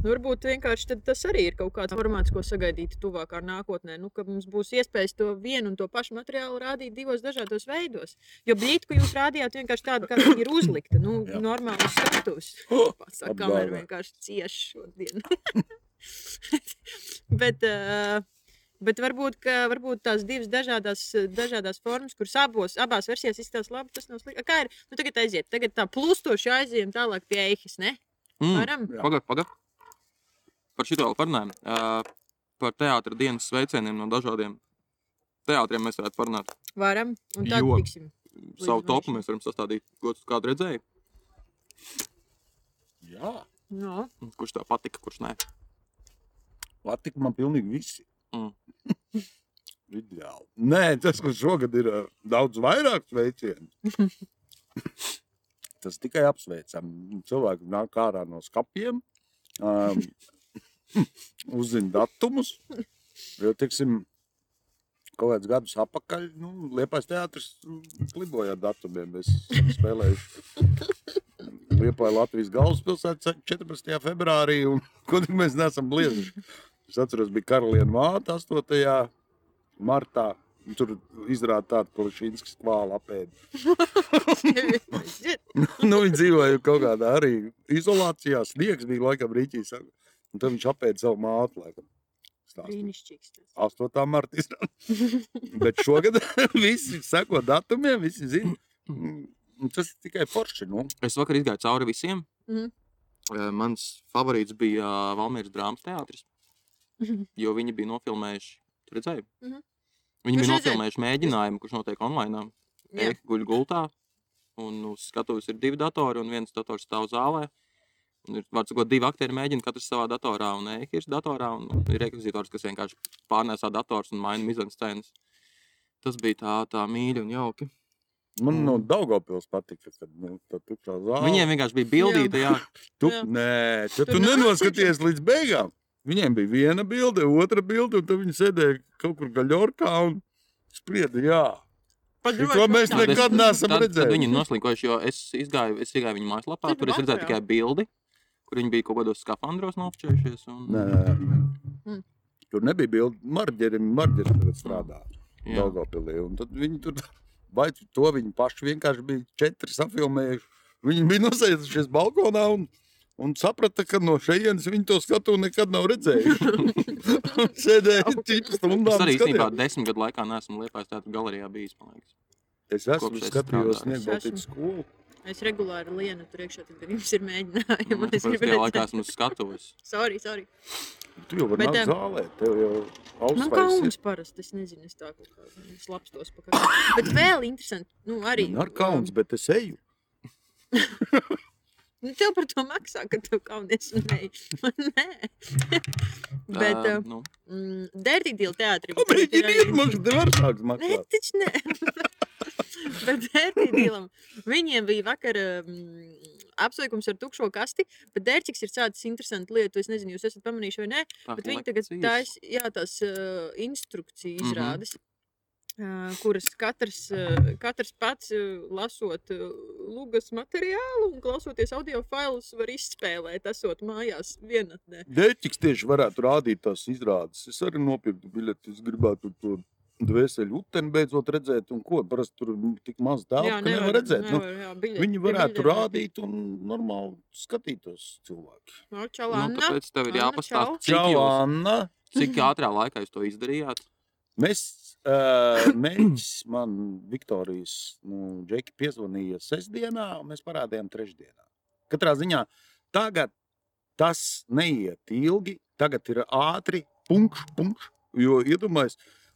[SPEAKER 4] Nu, varbūt vienkārši tad tas arī ir kaut kāds formāts, ko sagaidīt tuvākā nākotnē. Nu, ka mums būs iespējas to vienu un to pašu materiālu rādīt divos dažādos veidos. Jo blīdi, ko jūs rādījāt, vienkārši tāda, kāda viņi ir uzlikta. Nu,
[SPEAKER 1] Jā.
[SPEAKER 4] normāli skatuves. Pasaka, kamēr
[SPEAKER 1] Apbalvo.
[SPEAKER 4] vienkārši cieš šodien. bet, ā, bet varbūt, ka, varbūt tās divas dažādas, dažādas formas, kuras abos, abās versijās izskatās labi, tas nav slikti. Kā ir? Nu, tagad aiziet, tagad tā plūstoši aizējām tālāk pie eihas, ne?
[SPEAKER 3] mm.
[SPEAKER 4] Varam?
[SPEAKER 1] Jā.
[SPEAKER 3] pagaidi, pagaidi. Par šito vēl parunājām. Uh, par teātra dienas sveicieniem no dažādiem teātriem mēs varētu parunāt.
[SPEAKER 4] Varam. Un tad
[SPEAKER 3] Jo.
[SPEAKER 4] tiksim.
[SPEAKER 3] Savu
[SPEAKER 4] Līdz
[SPEAKER 3] topu
[SPEAKER 4] mašīnai.
[SPEAKER 3] mēs varam sastādīt, ko tu kādu redzēji.
[SPEAKER 1] Jā,
[SPEAKER 4] No.
[SPEAKER 3] un Kurš tā patika, kurš nē.
[SPEAKER 1] patika man pilnīgi visi.
[SPEAKER 3] Mm.
[SPEAKER 1] Ideāli. Nē, tas, kas šogad ir ā, daudz vairāk sveicienu. tas tikai apsveicam. Cilvēki nāk ārā no skapiem, um, uzzina datumus. Jo, teiksim, kaut kādus gadus atpakaļ, nu, Liepais teātris pliboja ar datumiem. Es spēlēju Liepāju Latvijas galvaspilsētu 14. februārī, un ko tik mēs neesam bliezuši. Es atceros, bija Karaliena māte 8. martā. un Tur izrādās tāda klišķīnas kvāla apēda. nu, viņi dzīvoja kaut kādā arī izolācijā. Sniegs bija laikam rīķis. Un tad viņš apēda savu mātu. Laikam. Stāstīja.
[SPEAKER 4] Brīnišķīgs. tas.
[SPEAKER 1] 8. martā. Bet šogad visi seko datumiem, visi zina. Un Tas ir tikai forši. Nu.
[SPEAKER 3] Es vakar izgāju cauri visiem.
[SPEAKER 4] Mhm.
[SPEAKER 3] Uh, mans favorīts bija uh, Valmīras drāmas teātris,
[SPEAKER 4] Mhm.
[SPEAKER 3] jo viņi bija nofilmējuši. Tu redzēji?
[SPEAKER 4] Mhm.
[SPEAKER 3] Viņi
[SPEAKER 4] Kurš
[SPEAKER 3] bija
[SPEAKER 4] redzēji?
[SPEAKER 3] nofilmējuši mēģinājumu, kurš notiek online.
[SPEAKER 4] Jā.
[SPEAKER 3] Eka guļ gultā, un uz skatuves ir divi datori, un viens dators stāv zālē. Un ir vārds, ko divi aktieri mēģina, katrs savā datorā, un Eka ir datorā, un ir rekvizītors, kas vienkārši pārnēsā dators un maina mizāņu scēnas. Tas bija tā, tā mīļi un jauki.
[SPEAKER 1] Man no Daugavpils patika, kad nu, tā tukšā zālē.
[SPEAKER 3] Viņiem vienkārši bija bildīta, jā.
[SPEAKER 1] Tu,
[SPEAKER 4] Jā.
[SPEAKER 1] nē, tad
[SPEAKER 4] Tur
[SPEAKER 1] tu
[SPEAKER 4] nav
[SPEAKER 1] nenoskaties līdz beigām. Viņiem bija viena bilde, otra bilde, un tad viņi sēdēja kaut kur gaļorkā un sprieda, jā.
[SPEAKER 4] Padroši
[SPEAKER 1] To mēs
[SPEAKER 4] vēl tā.
[SPEAKER 1] nekad neesam
[SPEAKER 3] Tad, tad viņi
[SPEAKER 1] redzējuši.
[SPEAKER 3] ir noslīkojuši, jo es izgāju, es izgāju viņu mājaslapā,
[SPEAKER 4] Tad
[SPEAKER 3] tur es redzēju
[SPEAKER 4] vakarā.
[SPEAKER 3] tikai bildi, kur viņi bija kaut kādos skafandros nofčējušies. Un...
[SPEAKER 1] Nē, nē, nē.
[SPEAKER 4] Mm.
[SPEAKER 1] Tur nebija bilde. Marģerim, marģerim tagad strādā
[SPEAKER 3] Jā.
[SPEAKER 1] Daugavpilī. Un tad viņi tur, vai to viņi paši vienkārši bija četri safilmējuši. Viņi bija nosēdušies balkonā un, Un saprata, ka no šejienes viņa to skatu nekad nav redzējusi. Sēdēja ķīpa stundā.
[SPEAKER 3] Es arī īstenībā desmit gadu laikā neesmu Liepājas teātrī galerijā bijis. man liekas.
[SPEAKER 1] Es esmu
[SPEAKER 3] Kopš es
[SPEAKER 1] skatījos
[SPEAKER 3] strādāju.
[SPEAKER 1] Nebaltiņu
[SPEAKER 4] Es
[SPEAKER 1] skolu.
[SPEAKER 4] Es regulāri lienu tur iekšā, tad, kad jums ir mēģinājumi.
[SPEAKER 3] Es
[SPEAKER 4] Es
[SPEAKER 3] jau
[SPEAKER 4] gribu
[SPEAKER 3] tādā laikā
[SPEAKER 4] redzēt,
[SPEAKER 3] esmu skatuves.
[SPEAKER 4] sorry, sorry.
[SPEAKER 1] Tu jau vari
[SPEAKER 4] Bet,
[SPEAKER 1] nākt
[SPEAKER 4] em,
[SPEAKER 1] zālē, tev jau
[SPEAKER 4] Man
[SPEAKER 1] ausvairs ir.
[SPEAKER 4] kauns parasti, es nezinu, es tā kaut kā slapstos pa kaut kā. Bet vēl interesanti, nu arī.
[SPEAKER 1] Man ar kauns, bet es eju.
[SPEAKER 4] Nu, tev par to maksā, ka tu kaunies un ej. Man nē. Bet
[SPEAKER 3] Ā,
[SPEAKER 4] uh,
[SPEAKER 3] nu,
[SPEAKER 4] mm, Dirty Deal teātri.
[SPEAKER 1] Pamēģini iet, man dārgāk
[SPEAKER 4] Nē,
[SPEAKER 1] maksāt.
[SPEAKER 4] taču nē. bet Dērķīdīlam viņiem bija vakar um, apsveikums ar tukšo kasti, bet Dērķis ir sācis interesanti lietu. Es nezinu, jūs esat pamanījuši vai nē,
[SPEAKER 3] tā
[SPEAKER 4] bet viņi tagad
[SPEAKER 3] kolekcijas.
[SPEAKER 4] tais, jā, tās uh, instrukciju
[SPEAKER 3] Mhm.
[SPEAKER 4] izrādes. Uh, kuras katrs, uh, katrs pats, uh, lasot uh, lugas materiālu un klausoties audio failus, var izspēlēt, esot mājās vienatnē.
[SPEAKER 1] Dēķis tieši varētu rādīt tās izrādes. Es arī nopirku biļeti. Es gribētu to dvēseli uteni beidzot redzēt. Un ko? Parasti tur tik maz tālu, ka nevar redzēt. Nu,
[SPEAKER 4] nevar, jā, biļe-
[SPEAKER 1] viņi
[SPEAKER 4] pie
[SPEAKER 1] varētu
[SPEAKER 4] biļetēm.
[SPEAKER 1] rādīt un normāli skatītos cilvēki.
[SPEAKER 4] No, čau,
[SPEAKER 3] Nu,
[SPEAKER 4] Anna.
[SPEAKER 3] tāpēc tev ir
[SPEAKER 4] Anna,
[SPEAKER 3] jāpastāsta,
[SPEAKER 4] čau.
[SPEAKER 3] cik,
[SPEAKER 1] Čau,
[SPEAKER 3] jūs,
[SPEAKER 1] Anna!
[SPEAKER 3] cik ātrā laikā jūs to izdarījāt.
[SPEAKER 1] Mēs, uh, mēs man Viktorijas nu, džeki piezvanīja sestdienā, un mēs parādījām trešdienā. Katrā ziņā tagad tas neiet ilgi, tagad ir ātri, punkš, punkš, jo iedomājies.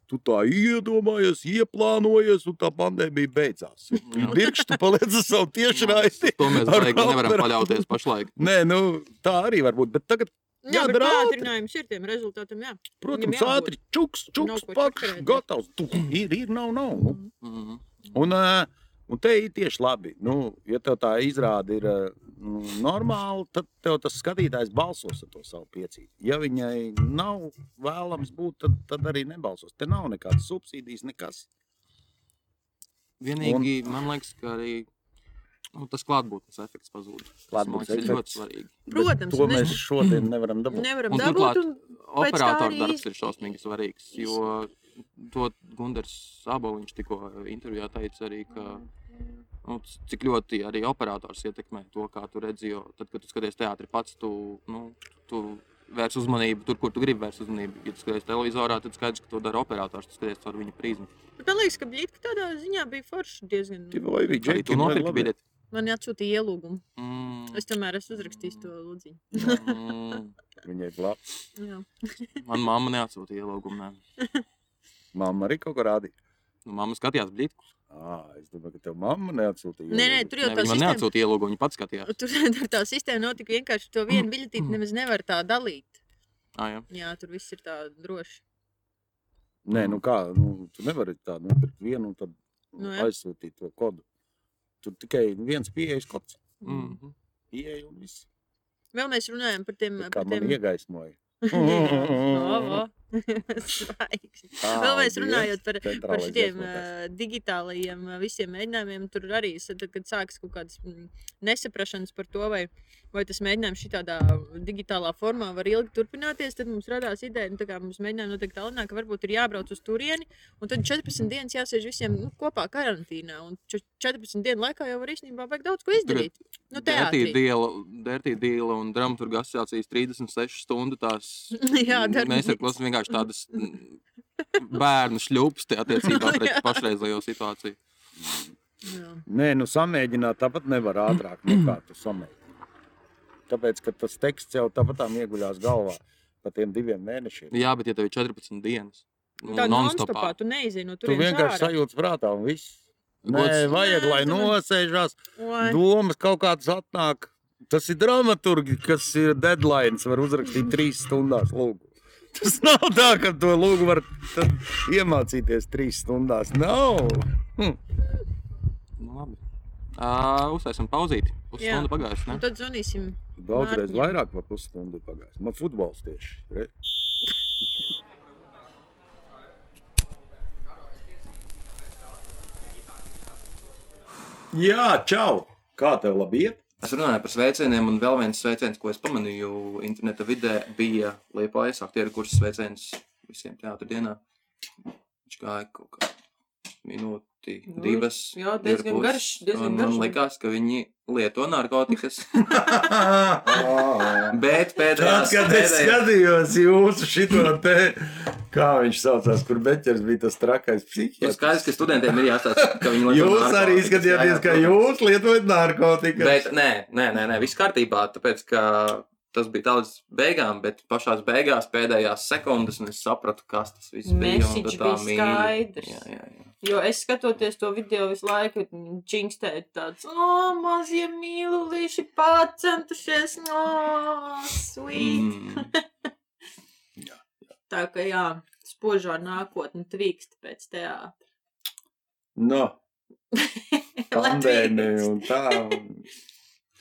[SPEAKER 1] Tu tā iedomājies, ieplānojies, un tā pandēmija beidzās.
[SPEAKER 3] Jā.
[SPEAKER 1] Dirkšķi, tu paliec ar savu tieši
[SPEAKER 3] Nu,
[SPEAKER 1] raiti.
[SPEAKER 3] To mēs
[SPEAKER 1] Ar
[SPEAKER 3] baigi nevaram
[SPEAKER 1] operā-
[SPEAKER 3] paļauties pašlaik.
[SPEAKER 1] Nē, nu, tā arī var būt. Bet tagad,
[SPEAKER 4] Jā,
[SPEAKER 1] Jādara
[SPEAKER 4] bet
[SPEAKER 1] ātri.
[SPEAKER 4] pātrinājums ir tiem rezultātiem. Jā.
[SPEAKER 1] protams,
[SPEAKER 4] jābūt.
[SPEAKER 1] ātri čuks,
[SPEAKER 4] Nav
[SPEAKER 1] čuks,
[SPEAKER 4] ko
[SPEAKER 1] pakš,
[SPEAKER 4] čakarēties.
[SPEAKER 1] gatavs. Tu, ir, ir, nav, nav. Nu,
[SPEAKER 3] Mhm.
[SPEAKER 1] Un, ā, un te ir tieši labi. Nu, ja tev tā izrāda ir ā, nu, normāla, tad tev tas skatītājs balsos ar to savu piecību. Ja viņai nav vēlams būt, tad, tad arī nebalsos. Te nav nekādas subsīdijas, nekas.
[SPEAKER 3] Vienīgi man liekas, ka arī nu, tas klātbūtnes efekts pazūd. Tas, Man
[SPEAKER 1] Klātbūtnes
[SPEAKER 3] liekas, ir ļoti
[SPEAKER 1] efekts.
[SPEAKER 3] svarīgi.
[SPEAKER 1] Bet
[SPEAKER 4] Protams,
[SPEAKER 1] to
[SPEAKER 4] ne-
[SPEAKER 1] mēs šodien nevaram dabūt.
[SPEAKER 4] Nevaram
[SPEAKER 3] Un
[SPEAKER 4] dabūt.
[SPEAKER 3] turklāt
[SPEAKER 4] Un... pēc tā
[SPEAKER 3] Operatora
[SPEAKER 4] arī-
[SPEAKER 3] darbs ir šausmīgi svarīgs. Jo to Gunārs Aboliņš tikko intervijā teica arī, ka nu, c- cik ļoti arī operators ietekmē to, kā tu redzi. Jo tad, kad tu skaties teātrī pats, tu, nu, tu vērs uzmanību tur, kur tu gribi vērst uzmanību. Ja tu skaties televizorā, tad skaidrs, ka to dara operators. Tu skaties caur viņa prizmu.
[SPEAKER 4] Bet Man liekas, ka blīķi tādā ziņā bija forši diezgan.
[SPEAKER 1] Tie Vai arī
[SPEAKER 3] Arī tu
[SPEAKER 1] džekiem vajag
[SPEAKER 3] nopirki
[SPEAKER 1] labi.
[SPEAKER 3] biļeti.
[SPEAKER 4] Man jāatsūtīja ielūgumu.
[SPEAKER 3] Mm,
[SPEAKER 4] Es tomēr esmu uzrakstījis to lūdziņu.
[SPEAKER 3] mm,
[SPEAKER 1] Viņai klāt.
[SPEAKER 4] Jā.
[SPEAKER 3] man mamma neatsūtīja ielūgumu. nē.
[SPEAKER 1] Mamma arī kaut ko rādīja.
[SPEAKER 3] Nu, Mamma skatījās blīķi.
[SPEAKER 1] À, es domāju, ka tev mamma neatsūtīja.
[SPEAKER 4] Nē, nē,
[SPEAKER 1] ielūgumu.
[SPEAKER 4] tur jau
[SPEAKER 3] Viņa
[SPEAKER 4] tā
[SPEAKER 3] man
[SPEAKER 4] sistēma.
[SPEAKER 3] neatsūtīja ielūgumu, viņa pats skatījās.
[SPEAKER 4] Tur tur tā sistēma nav tik vienkārši. To vienu biļetīti nemaz nevar tā dalīt.
[SPEAKER 3] Ah, jā.
[SPEAKER 4] Jā, tur viss ir tā droši.
[SPEAKER 1] Nē, nu kā, nu, tu nevari tā nopirkt vienu un tad nu,
[SPEAKER 4] Mm. Nu, jā.
[SPEAKER 1] aizsūtīt to kodu. Tur tikai viens pieejas kods.
[SPEAKER 3] Mm.
[SPEAKER 1] Pieeja un viss.
[SPEAKER 4] Vēl mēs runājam par tiem.
[SPEAKER 1] Tā Kā
[SPEAKER 4] Nu Par
[SPEAKER 1] man
[SPEAKER 4] tiem...
[SPEAKER 1] iegaismoja.
[SPEAKER 4] O, o. Svaigs. Vēl mēs runājot par, par šiem digitālajiem ā, visiem mēģinājumiem, tur arī sa- tad, kad sākas kaut kādas mm, nesaprašanas par to, vai, vai tas mēģinājums šādā digitālā formā var ilgi turpināties, tad mums radās ideja, nu, tā kā mums mēģināja noteikti tālāk, ka varbūt ir jābrauc uz turieni, un tad 14 dienas jāsēž visiem nu, kopā karantīnā, un čet- 14 dienu laikā jau var īstenībā vajag daudz ko izdarīt. Nu, teātrī.
[SPEAKER 3] Dērtī dīla un dramaturga asociācijas 36 stundu. Tās
[SPEAKER 4] Jā, darbnīca.
[SPEAKER 3] Mm, mēs ar klasu vienkārši tādas mm, bērnu šļūpas te attiecībā pret
[SPEAKER 4] Jā.
[SPEAKER 3] pašreizējo situāciju.
[SPEAKER 4] Jā.
[SPEAKER 1] Nē, nu samēģināt tāpat nevar ātrāk nekā tu samēģini. Tāpēc, ka tas teksts jau tāpatām ieguļās galvā pa tiem diviem mēnešiem.
[SPEAKER 3] Jā, bet ja tev ir 14 dienas, nu,
[SPEAKER 4] Tā
[SPEAKER 3] non-stopā.
[SPEAKER 4] non-stopā tu neizēji no
[SPEAKER 1] Tu
[SPEAKER 4] turienes
[SPEAKER 1] vienkārši
[SPEAKER 4] ārā.
[SPEAKER 1] sajūti prātā un viss. Nē,
[SPEAKER 3] Nu, Gods-
[SPEAKER 1] vajag,
[SPEAKER 4] Nē,
[SPEAKER 1] lai
[SPEAKER 4] tu ne-
[SPEAKER 1] nosēžās,
[SPEAKER 4] Oi.
[SPEAKER 1] domas kaut kādas atnāk. Tas ir dramaturgi, kas ir deadline, var uzrakstīt trīs stundās. Lūgu. Tas nav tā, ka to lūgu var tad iemācīties trīs stundās. Nav.
[SPEAKER 3] Nu, labi. Ā, Uztaisam pauzīti. Uz
[SPEAKER 4] Jā.
[SPEAKER 3] stundu pagājis.
[SPEAKER 4] Un
[SPEAKER 3] Ne?
[SPEAKER 4] tad zvanīsim.
[SPEAKER 1] Daudzreiz
[SPEAKER 4] Mārtiņam.
[SPEAKER 1] vairāk par pusstundu pagājis. Man futbols tieši. Re. Jā, čau! Kā tev labi iet?
[SPEAKER 3] Es runāju par sveicieniem, un vēl viens sveiciens, ko es pamanīju interneta vidē, bija Lietuvas aktieru kursus sveiciens visiem teātriem dienā. Viņš gāja kaut kā minūti,
[SPEAKER 4] Nu,
[SPEAKER 3] divas.
[SPEAKER 4] jā,
[SPEAKER 3] ir
[SPEAKER 4] diezgan
[SPEAKER 3] pus.
[SPEAKER 4] garš- diezgan
[SPEAKER 3] Un
[SPEAKER 4] garš.
[SPEAKER 3] Man liekas, ka viņi lieto narkotikas.
[SPEAKER 1] Ah, Tad,
[SPEAKER 3] Bet pēdējā
[SPEAKER 1] kad es skatījos jūsu šito te, kā viņš saucās, kur beķers bija tas trakais
[SPEAKER 3] Ir
[SPEAKER 1] psihiatrs.
[SPEAKER 3] Nu, skaidrs, ka studentiem ir jāstāsta, ka viņi lieto
[SPEAKER 1] Jūs arī
[SPEAKER 3] narkotikas.
[SPEAKER 1] izskatījāties,
[SPEAKER 3] Jā,
[SPEAKER 1] ka
[SPEAKER 3] jā,
[SPEAKER 1] jūs lietojat narkotikas.
[SPEAKER 3] Bet nē, nē, nē, nē viss kārtībā. Tāpēc, ka tas bija daudz beigām, bet pašā beigās, pēdējās sekundes, un es sapratu, kas tas viss bija. un
[SPEAKER 4] Message
[SPEAKER 3] tā
[SPEAKER 4] bija
[SPEAKER 3] mīlu.
[SPEAKER 4] skaidrs.
[SPEAKER 3] Jā, jā, jā.
[SPEAKER 4] Jo es skatoties to video visu laiku, čingstēju tāds, o, mazie mīluļīši pārcentušies, no, sweet. Mm.
[SPEAKER 3] Mm.
[SPEAKER 4] Tā kā jā, spožā nākotne trīkst pēc teātra.
[SPEAKER 1] No,
[SPEAKER 4] Lai
[SPEAKER 1] pandēmija
[SPEAKER 4] trīkst.
[SPEAKER 1] un tā. un-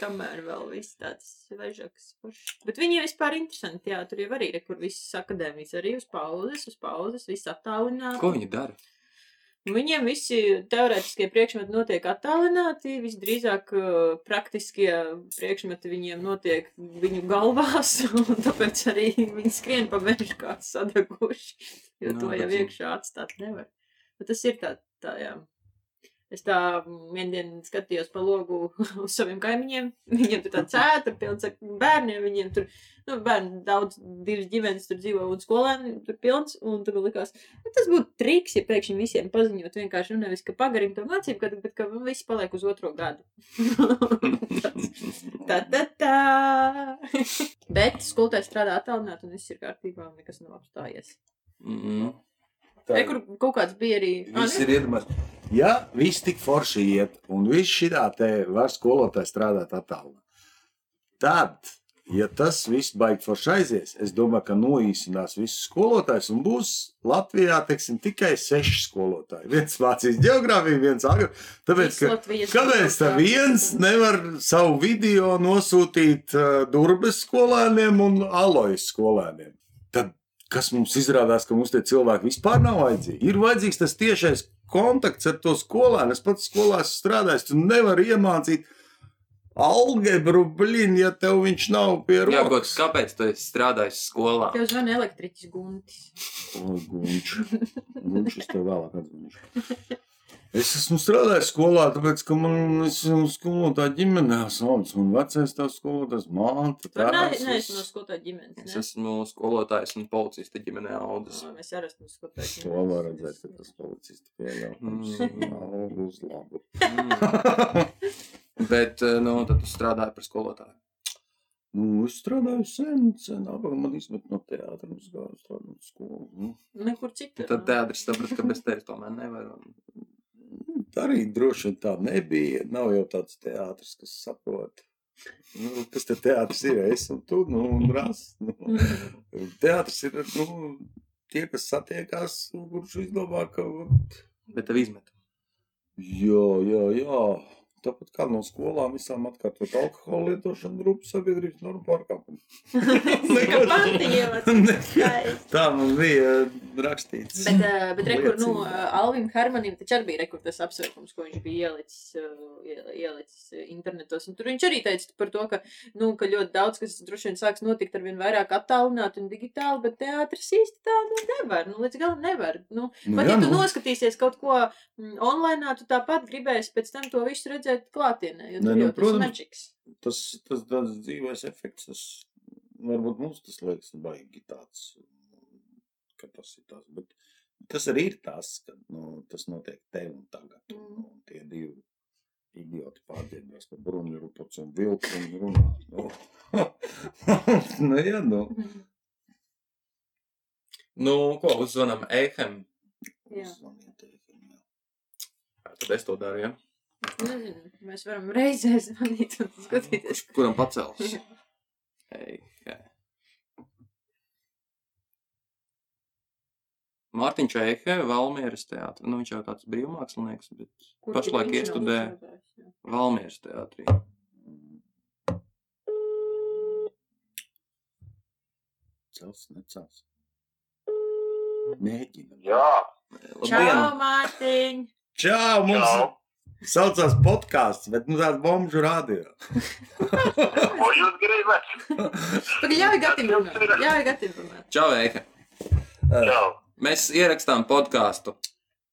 [SPEAKER 4] Kamēr vēl viss tāds svežāks. foršs. Bet viņi ir vispār interesanti. Jā, tur jau arī ir, kur visas akadēmijas arī uz pauzes, uz pauzes, viss attālināti.
[SPEAKER 3] Ko viņi dara?
[SPEAKER 4] Viņiem visi teorētiskie priekšmeti notiek attālināti, visdrīzāk eh, praktiskie priekšmeti viņiem notiek viņu galvās, un tāpēc arī viņi skrien pa mežu kā sadaguši, jo
[SPEAKER 3] Nu,
[SPEAKER 4] to jau
[SPEAKER 3] bet-
[SPEAKER 4] iekšā atstāt nevar. Bet tas ir tā, tā jā. Es tā vienā dienā skatījos pa logu uz saviem kaimiņiem. Viņiem tur tāds ēta, pilns ar bērniem. Viņiem tur, nu, bērni daudz, divas ģimenes tur dzīvo un skolēni tur pilns. Un tur likās, Nu, Tas būtu triks, ja pēkšņi visiem paziņot, vienkārši nu, nevis, ka pagarina to mācību, gadu, bet ka visi paliek uz otro gadu. tā, tā, tā. bet skolotājs strādā attālināti, un viss ir kārtībā, un nekas nav apstājies.
[SPEAKER 3] Mm.
[SPEAKER 1] Tā.
[SPEAKER 4] Tur kaut kāds bija arī. Ā,
[SPEAKER 1] Viss
[SPEAKER 4] ne?
[SPEAKER 1] ir iedomājies. Ja viss tik forši iet, un viss šitā te var skolotājs strādāt attālumā, tad, ja tas viss baigi forši aizies, es domāju, ka noīsinās visus skolotājus, un būs Latvijā, teiksim, tikai seši skolotāji. Viens mācīs geogrāfiju, viens agru. Tāpēc,
[SPEAKER 4] Viss
[SPEAKER 1] ka
[SPEAKER 4] Latvijas
[SPEAKER 1] Kāpēc tā
[SPEAKER 4] skolotājs.
[SPEAKER 1] viens nevar savu video nosūtīt uh, durvis skolēniem un alojas skolēniem? Tad kas mums izrādās, ka mums tie cilvēki vispār nav vajadzīgi? Ir vajadzīgs tas tiešais kontakts ar to skolēnu. Es pats skolās strādāju, tu nevari iemācīt algebru, blin, ja tev viņš nav pie
[SPEAKER 3] Jā, gods,
[SPEAKER 1] rokas.
[SPEAKER 3] kāpēc tu esi strādājis skolā?
[SPEAKER 4] Tev zvana elektriķis Guntis.
[SPEAKER 1] O, Gunč, Gunč, es tev vēlāk atzīšu. Es esmu strādājis skolā, tāpēc, ka man es esmu skolotāja ģimenē, sauc man vecais tās skolotājs, māte,
[SPEAKER 4] Tu
[SPEAKER 1] tēvs.
[SPEAKER 4] neesi
[SPEAKER 1] es-
[SPEAKER 4] no skolotāja ģimenes.
[SPEAKER 3] Es
[SPEAKER 4] ne?
[SPEAKER 3] esmu skolotājs un policista ģimenē audas.
[SPEAKER 4] Ā, Mēs arī esam no skolotāja
[SPEAKER 1] To
[SPEAKER 4] ģimenes.
[SPEAKER 1] var redzēt, ka tas policists pieļaujams.
[SPEAKER 3] Mm.
[SPEAKER 1] Nav uz labu.
[SPEAKER 3] Mm. Bet, eh, nu, tad tu strādāji par skolotāju.
[SPEAKER 1] Nu, es strādāju sen, sen, apmēram man izmet no teātra, un es gāju strādāt skolu. Nu,
[SPEAKER 4] Nekur citur.
[SPEAKER 3] Tad
[SPEAKER 4] nav.
[SPEAKER 3] teātris saprata, ka bez tevis tomēr nevar. un-
[SPEAKER 1] Tā arī droši vien tā nebija. Nav jau tāds teātris, kas saprot. Nu, kas te teātris ir? Es un tu, nu, un ras. Nu. Teātris ir nu, tie, kas satiekās, un kurš izdomā, ka.
[SPEAKER 3] Bet tev izmet.
[SPEAKER 1] Jā, jā, jā. Tāpat kā no skolām visām atkārtot alkohola lietošanu, grupas sabiedrības normu pārkāpumu.
[SPEAKER 4] Kā Pantievas. Skaisti.
[SPEAKER 1] Tā man bija rakstīts.
[SPEAKER 4] Bet, eh, bet rekur, nu,
[SPEAKER 1] Liecība.
[SPEAKER 4] eh, Alvim Hermanim taču arī bija rekur, tas apsveikums, ko viņš bija ielicis, eh, ie- ielicis eh, internetos. Un tur viņš arī teica par to, ka, nu, ka ļoti daudz kas droši vien sāks notikt ar vien vairāk attālināti un digitāli, bet teātris īsti tā nu, nevar. Nu, līdz galam nevar. Nu,
[SPEAKER 1] Nu,
[SPEAKER 4] pat
[SPEAKER 1] jā,
[SPEAKER 4] ja tu
[SPEAKER 1] nu.
[SPEAKER 4] noskatīsies kaut ko mm, online, tu tāpat gribēsi pēc tam to visu redzēt klātienē. Jo
[SPEAKER 1] Nē,
[SPEAKER 4] tur
[SPEAKER 1] nu,
[SPEAKER 4] jau tas
[SPEAKER 1] protams.
[SPEAKER 4] maģiks.
[SPEAKER 1] tas, tas tāds dzīves efekts, tas varbūt mums tas liekas baigi tāds, ka tas ir tas, bet tas arī ir tas, ka nu, tas notiek te un tagad, un,
[SPEAKER 4] Mm.
[SPEAKER 1] un tie divi idioti pārdēļās, ka bruņi ruputs un vilks un runā, nu, nu, jā, nu,
[SPEAKER 4] Mm.
[SPEAKER 3] Nu, ko uzzvanām Ehem?
[SPEAKER 4] Jā.
[SPEAKER 1] Uzzvaniet, jā.
[SPEAKER 3] Tad es to daru, ja?
[SPEAKER 4] Nezinu, mēs varam reizē zvanīt un skatīties.
[SPEAKER 3] Kurš- Kuram pacels? Ei, hei. Mārtiņš Ehe, Valmieras teātris. Nu, viņš jau tāds brīvmākslinieks, bet
[SPEAKER 4] kur
[SPEAKER 3] Pašlaik
[SPEAKER 4] viņš nav
[SPEAKER 3] iestudē.
[SPEAKER 4] strādājis, jā.
[SPEAKER 3] Valmieras teātrī.
[SPEAKER 1] Cels, necels. Mēģinam.
[SPEAKER 5] Jā,
[SPEAKER 4] Čau,
[SPEAKER 3] Labdien!
[SPEAKER 4] Mārtiņ!
[SPEAKER 1] Čau, mums
[SPEAKER 5] Čau.
[SPEAKER 1] saucās podkāsts, bet nu tāds bomžu radio.
[SPEAKER 5] ko jūs gribat?
[SPEAKER 4] Pagaid, ļauj gatim runāt. Ļauj gatim runāt.
[SPEAKER 3] Čau, Ehe!
[SPEAKER 5] Čau.
[SPEAKER 3] Mēs ierakstām podkāstu.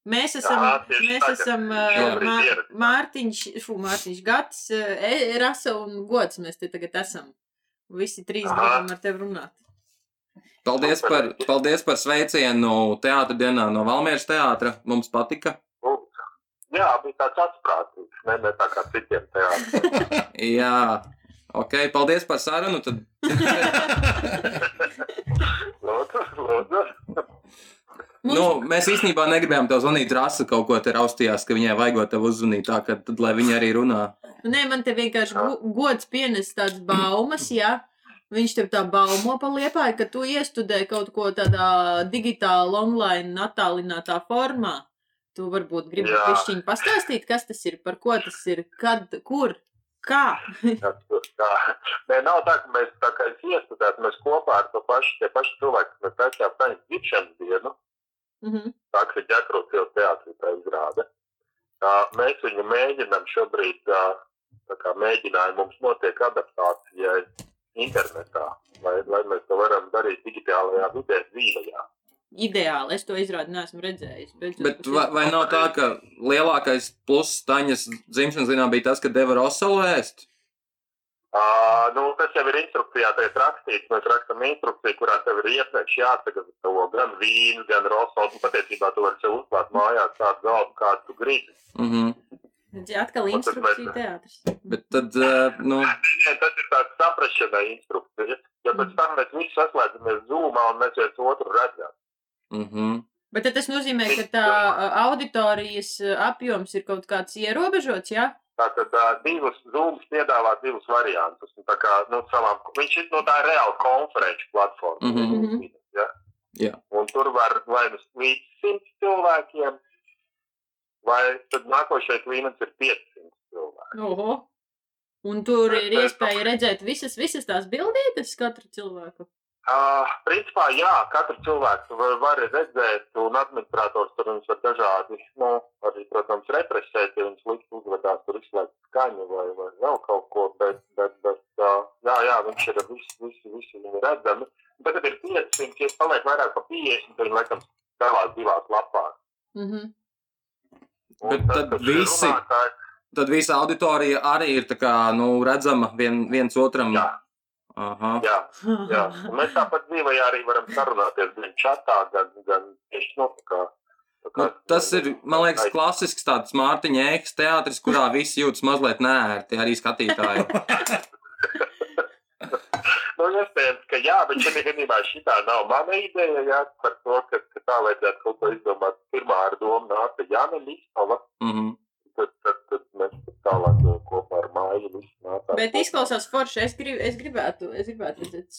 [SPEAKER 4] Mēs esam,
[SPEAKER 5] Jā, tieši
[SPEAKER 4] mēs
[SPEAKER 5] tā, ka
[SPEAKER 4] esam
[SPEAKER 5] šobrīd
[SPEAKER 4] uh, Mār
[SPEAKER 5] ierakstā.
[SPEAKER 4] Mārtiņš, fū, Mārtiņš Gats, uh, E- Rasa un Gods. Mēs te tagad esam. Visi trīs
[SPEAKER 5] Aha.
[SPEAKER 4] gribam ar tevi runāt.
[SPEAKER 3] Paldies par, paldies par sveicienu teātra dienā no Valmieras teātra. Mums patika.
[SPEAKER 5] Jā, bija tāds atprātīgs, ne, ne tā kā citiem teātriem.
[SPEAKER 3] Jā, ok, paldies par sarunu. Tad
[SPEAKER 5] Lūdzu, lūdzu.
[SPEAKER 3] Nu, mēs īstenībā negribējām tev zvanīt. Rasa kaut ko te raustījās, ka viņai vajag tev uzzvanīt, tā ka tad, lai viņa arī runā.
[SPEAKER 4] Nu, Nē, man te vienkārši go- gods pienes tādas baumas, jā. Viņš tev tā baumo paliepāja, ka tu iestudēji kaut ko tādā digitāli, online, attālinātā formā. Tu varbūt gribi
[SPEAKER 5] Jā.
[SPEAKER 4] pišķiņu pastāstīt, kas tas ir, par ko tas ir, kad, kur, kā.
[SPEAKER 5] Jā, tur tā. Nē, nav tā, ka mēs tā kā iestudētu, mēs kopā ar to pašu, tie paši cilvēki, mēs taisījām taņas dzimšanas dienu,
[SPEAKER 4] Mhm.
[SPEAKER 5] tā kā ģekrūts jau teātrī tā izrāda. Tā, mēs viņu mēģinām šobrīd, tā, tā kā mēģinājumu mums notiek adaptācija internetā, lai, lai mēs to varam darīt digitālajā vidē dzīvajā.
[SPEAKER 4] Ideāli, es to izrādu neesmu redzējis. Bet,
[SPEAKER 3] Bet vai, vai nu- nav tā, ka lielākais pluss Taņas dzimšanas dienā bija tas, ka deva Roselu ēst?
[SPEAKER 5] Ā, nu, tas jau ir instrukcijā, tā ir rakstīts. Mēs rakstām instrukciju, kurā tev ir iepriekš jāsagatavo gan vīns, gan rosols. Patiesībā tu vari sev uzklāt mājās tādu galvu, kādu tu gribi.
[SPEAKER 3] Mhm.
[SPEAKER 4] Jā, atkal
[SPEAKER 5] Un tad
[SPEAKER 4] instrukcija
[SPEAKER 5] mēs-
[SPEAKER 4] teātris.
[SPEAKER 3] Bet tad, eh, nu,
[SPEAKER 5] Nē, tas ir tāds saprašanai instrukcija. Jo pēc tam mēs visi saslēdzamies zūmā un mēs viens otru redzam.
[SPEAKER 3] mhm.
[SPEAKER 4] Bet tad tas nozīmē, ka tā ā, auditorijas ā, apjoms ir kaut kāds ierobežots, jā?
[SPEAKER 5] Tātad uh, divas zūmas piedāvā divus variantus. Un Tā kā, nu, savām, viņš ir no tā ir reāla konferenču platforma.
[SPEAKER 3] Mhm.
[SPEAKER 4] Mhm.
[SPEAKER 5] Ja?
[SPEAKER 3] Jā.
[SPEAKER 5] Un tur var vai nu līdz simt cilvēkiem, vai tad nākošais līmenis ir 500 cilvēki.
[SPEAKER 4] Oho. Un tur ir iespēja redzēt visas, visas tās bildītes katra cilvēka.
[SPEAKER 5] Uh, principā, jā, katru cilvēku var, var redzēt, un administrators tur viņus var dažādi, nu, arī, protams, represēt, ja viņš likt uzvedās tur izslēgt skaņu vai, vai vēl kaut ko, bet, bet, bet uh, jā, jā, viņš ir visi, visi, visi viņi redzami. Bet tad ir 500, ja paliek vairāk par 50, tad viņi laikam dalās divās lapās.
[SPEAKER 4] Mhm.
[SPEAKER 5] Un
[SPEAKER 3] Bet
[SPEAKER 5] tas,
[SPEAKER 3] tad
[SPEAKER 5] kas ir
[SPEAKER 3] visi-
[SPEAKER 5] runātājs,
[SPEAKER 3] Tad visa auditorija arī ir tā kā, nu, redzama vien, viens otram.
[SPEAKER 5] Jā,
[SPEAKER 3] Aha.
[SPEAKER 5] jā,
[SPEAKER 4] Mhm.
[SPEAKER 5] jā. Un Mēs tāpat dzīvē arī varam sarunāties gan čatā, gan, gan tieši nu, tā kā. tā
[SPEAKER 3] Nu,
[SPEAKER 5] kā-
[SPEAKER 3] tas ir, man liekas, klasisks tāds Mārtiņa ēkas teātris, kurā visi jūtas mazliet nērti, arī skatītāji.
[SPEAKER 5] Nu, iespējams, ka jā, bet šajā gadījumā šī nav mana ideja. Jā, par to, ka, ka tā vajadzētu kaut ko izdomāt. Pirmā ar domu nāca Jāna Līsava,
[SPEAKER 3] Mhm.
[SPEAKER 5] tad, tad, tad mēs tālāk jau kopā ar māju visu
[SPEAKER 4] Bet izklausās forši. Es, grib, es gribētu, es gribētu redzēt.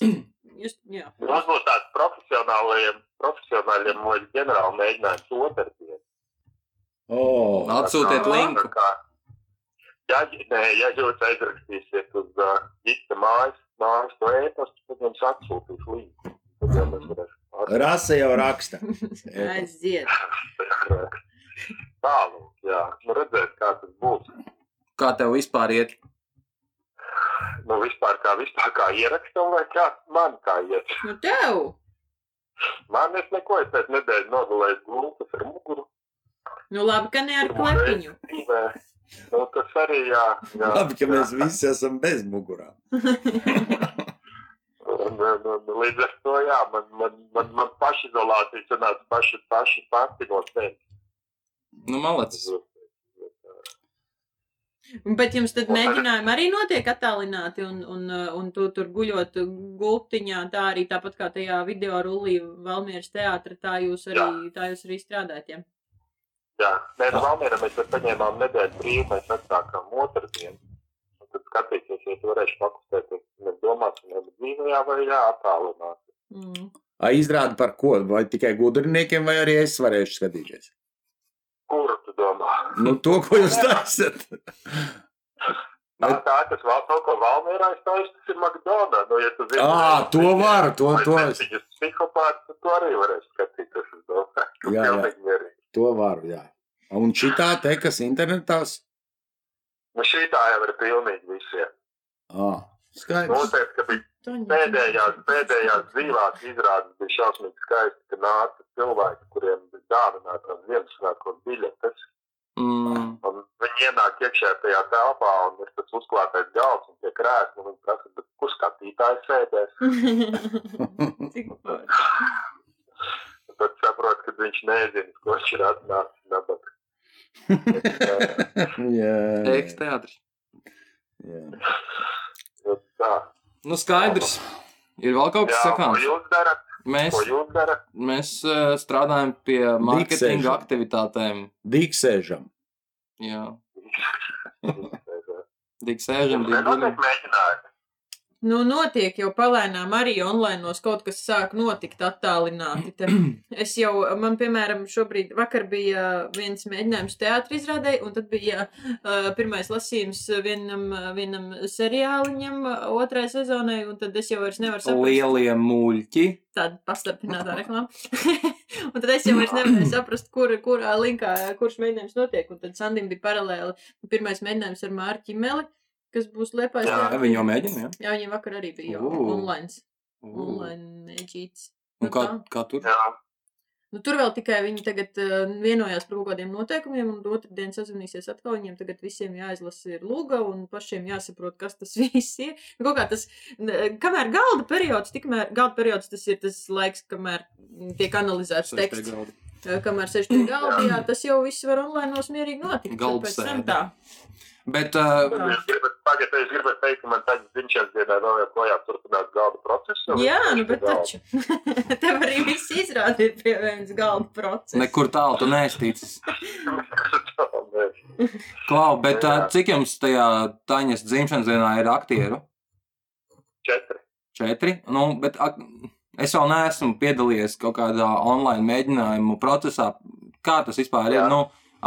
[SPEAKER 4] Jūs, jā.
[SPEAKER 5] Mums Nu, būs tāds profesionāliem, profesionāliem vai ģenerāli mēģinājums otrdien.
[SPEAKER 1] Oh.
[SPEAKER 3] Nu, Atsūtiet linku.
[SPEAKER 5] Tā kā- Ja, nē, ja jūs aizrakstīsiet uz uh, ģita mājas, mājas to ēpastu, tad jums atsūtīs linku. Tad jau mēs varēsim
[SPEAKER 1] Rasa jau raksta.
[SPEAKER 4] Aiziet.
[SPEAKER 5] Tālāk, jā, nu redzēt, kā tas būs.
[SPEAKER 3] Kā tev vispār iet?
[SPEAKER 5] Nu, vispār kā, vispār kā ierakstam, vai kā man kā iet.
[SPEAKER 4] Nu tev!
[SPEAKER 5] Man es neko, es pēc nedēļas nodalēju gultas ar muguru.
[SPEAKER 4] Nu labi, ka ne ar
[SPEAKER 5] Pirmo
[SPEAKER 4] klepiņu.
[SPEAKER 5] reizi dzīvē. Nu, tas arī, jā, jā.
[SPEAKER 1] Labi, ka mēs visi esam bez mugurām.
[SPEAKER 5] Un, un, un, līdz ar to, jā, man, man, man, man pašizolācija sanāca paši, paši pati no sevis.
[SPEAKER 3] Nu, malacis.
[SPEAKER 4] Bet jums tad
[SPEAKER 5] Un-
[SPEAKER 4] mēģinājumi arī notiek attālināti, un, un, uh, un tu tur guļot gultiņā, tā arī tāpat kā tajā video rullī Valmieras teātra, tā jūs arī, tā jūs arī strādājat. Ja?
[SPEAKER 5] Jā, nē, no Valmiera mēs tad paņēmām nedēļu brīvu, mēs atsākām otrdien. Un Tad skatīties, ja es varēšu fokusēties, mēs domāsim, vai dzīvajā vai jā, attālināt.
[SPEAKER 4] Mm.
[SPEAKER 1] Ai, Izrāda par ko? Vai tikai gudriniekiem, vai arī es varēšu skatīties?
[SPEAKER 5] Kuru tu domā?
[SPEAKER 1] Nu, to, ko jūs taisat.
[SPEAKER 5] Tā, tā, kas vēl kaut ko Valmierā aizstājas, tas ir McDonald's. Nu, ja tu zini,
[SPEAKER 1] Ā, to var, to,
[SPEAKER 5] vai
[SPEAKER 1] to,
[SPEAKER 5] tas
[SPEAKER 1] es-
[SPEAKER 5] ir psihopāts, tad tu arī varēsi skatīties uz to.
[SPEAKER 1] Jā, jā.
[SPEAKER 5] Pilnīgi mierīgi.
[SPEAKER 1] to varu, jā. Un šitā te, kas internetās?
[SPEAKER 5] Nu, šī tā jau ir pilnīgi visiem.
[SPEAKER 1] Ā, skaidrs.
[SPEAKER 5] Noteikti, ka bija pēdējās, pēdējās dzīvās izrādes bija šausmīgi skaisti, ka nāca cilvēki, kuriem bija dāvināta Ziemassvētku biļetes.
[SPEAKER 3] Mm,
[SPEAKER 5] Un viņi ienāk iekšā tajā telpā un ir tas uzklātais galds un tie krēsli. un Viņi prasa, "Bet kur skatītājs sēdēs.
[SPEAKER 4] Cik forši.
[SPEAKER 5] Un Tad saprot, ka viņš nezina, ko viņš ir atnācis dabūt.
[SPEAKER 3] Eiks teātris.
[SPEAKER 1] jā.
[SPEAKER 5] Tā,
[SPEAKER 3] Nu, skaidrs. Ir vēl kaut kas
[SPEAKER 5] jā, ko
[SPEAKER 3] sakāms.
[SPEAKER 5] jūs darat?
[SPEAKER 3] Mēs,
[SPEAKER 5] Ko jūs darat?
[SPEAKER 3] mēs eh, strādājam pie mārketinga aktivitātēm.
[SPEAKER 1] Dīksēžam.
[SPEAKER 3] Jā,
[SPEAKER 5] Jūs
[SPEAKER 3] tik sēžam, tik guļam.
[SPEAKER 5] nenotiek mēģinājumi.
[SPEAKER 4] Nu, notiek jau palēnām arī online kaut kas sāk notikt attālināti. Te. Es jau, man, piemēram, šobrīd, vakar bija viens mēģinājums teātris izrādē, un tad bija uh, pirmais lasījums vienam, vienam seriāliņam uh, otrai sezonai, un tad es jau vairs nevaru saprast.
[SPEAKER 3] Lielie muļķi.
[SPEAKER 4] tāda pastarpināta reklāma. un tad es jau vairs nevarēju saprast, kur, kurā linkā, kurš mēģinājums notiek. Un tad Sandim bija paralēli pirmais mēģinājums ar Mārķi Meli, kas būs lepais.
[SPEAKER 5] Jā,
[SPEAKER 4] teātrī.
[SPEAKER 3] Viņi jau mēģina, jā.
[SPEAKER 4] Jā, viņiem vakar arī bija jau
[SPEAKER 3] Ū.
[SPEAKER 4] online.
[SPEAKER 3] Un
[SPEAKER 4] Online mēģīts.
[SPEAKER 3] nu, kā, kā tur?
[SPEAKER 5] Jā,
[SPEAKER 4] Nu, tur vēl tikai viņi tagad uh, vienojās par kaut kādiem noteikumiem, un otru dienu sazvanīsies atkal. Viņiem tagad visiem jāizlasa ir lūga, un pašiem jāsaprot, kas tas viss ir. Nu, Kaut kā tas, n- kamēr galda periods, tikmēr galda periods tas ir tas laiks, kamēr mm, tiek analizēts
[SPEAKER 3] Sēž pie
[SPEAKER 4] teksts.
[SPEAKER 3] galda.
[SPEAKER 4] Uh, Kamēr sēž pie galda, jā, tas jau viss var online mierīgi notikt.
[SPEAKER 3] Galda
[SPEAKER 4] Pēc tam
[SPEAKER 3] sēde.
[SPEAKER 4] tā.
[SPEAKER 3] Bet uh,
[SPEAKER 4] Tā.
[SPEAKER 5] Es gribētu, tagad es gribētu teikt, ka man tagad dzimšanas dienā vēl joprojām turpinās galda procesu.
[SPEAKER 4] Jā, nu, bet taču. Tev arī viss izrādīja pie vienas galda procesa.
[SPEAKER 3] nekur tālu tu neestīcis.
[SPEAKER 5] taču.
[SPEAKER 3] Klau, bet uh,
[SPEAKER 5] Jā.
[SPEAKER 3] cik jums tajā Taņas dzimšanas dienā ir aktieru?
[SPEAKER 5] Četri.
[SPEAKER 3] Četri. Nu, bet, ak, es vēl neesmu piedalījies kaut kādā online mēģinājumu procesā. Kā tas vispār ir?
[SPEAKER 5] Jā.
[SPEAKER 3] Nu,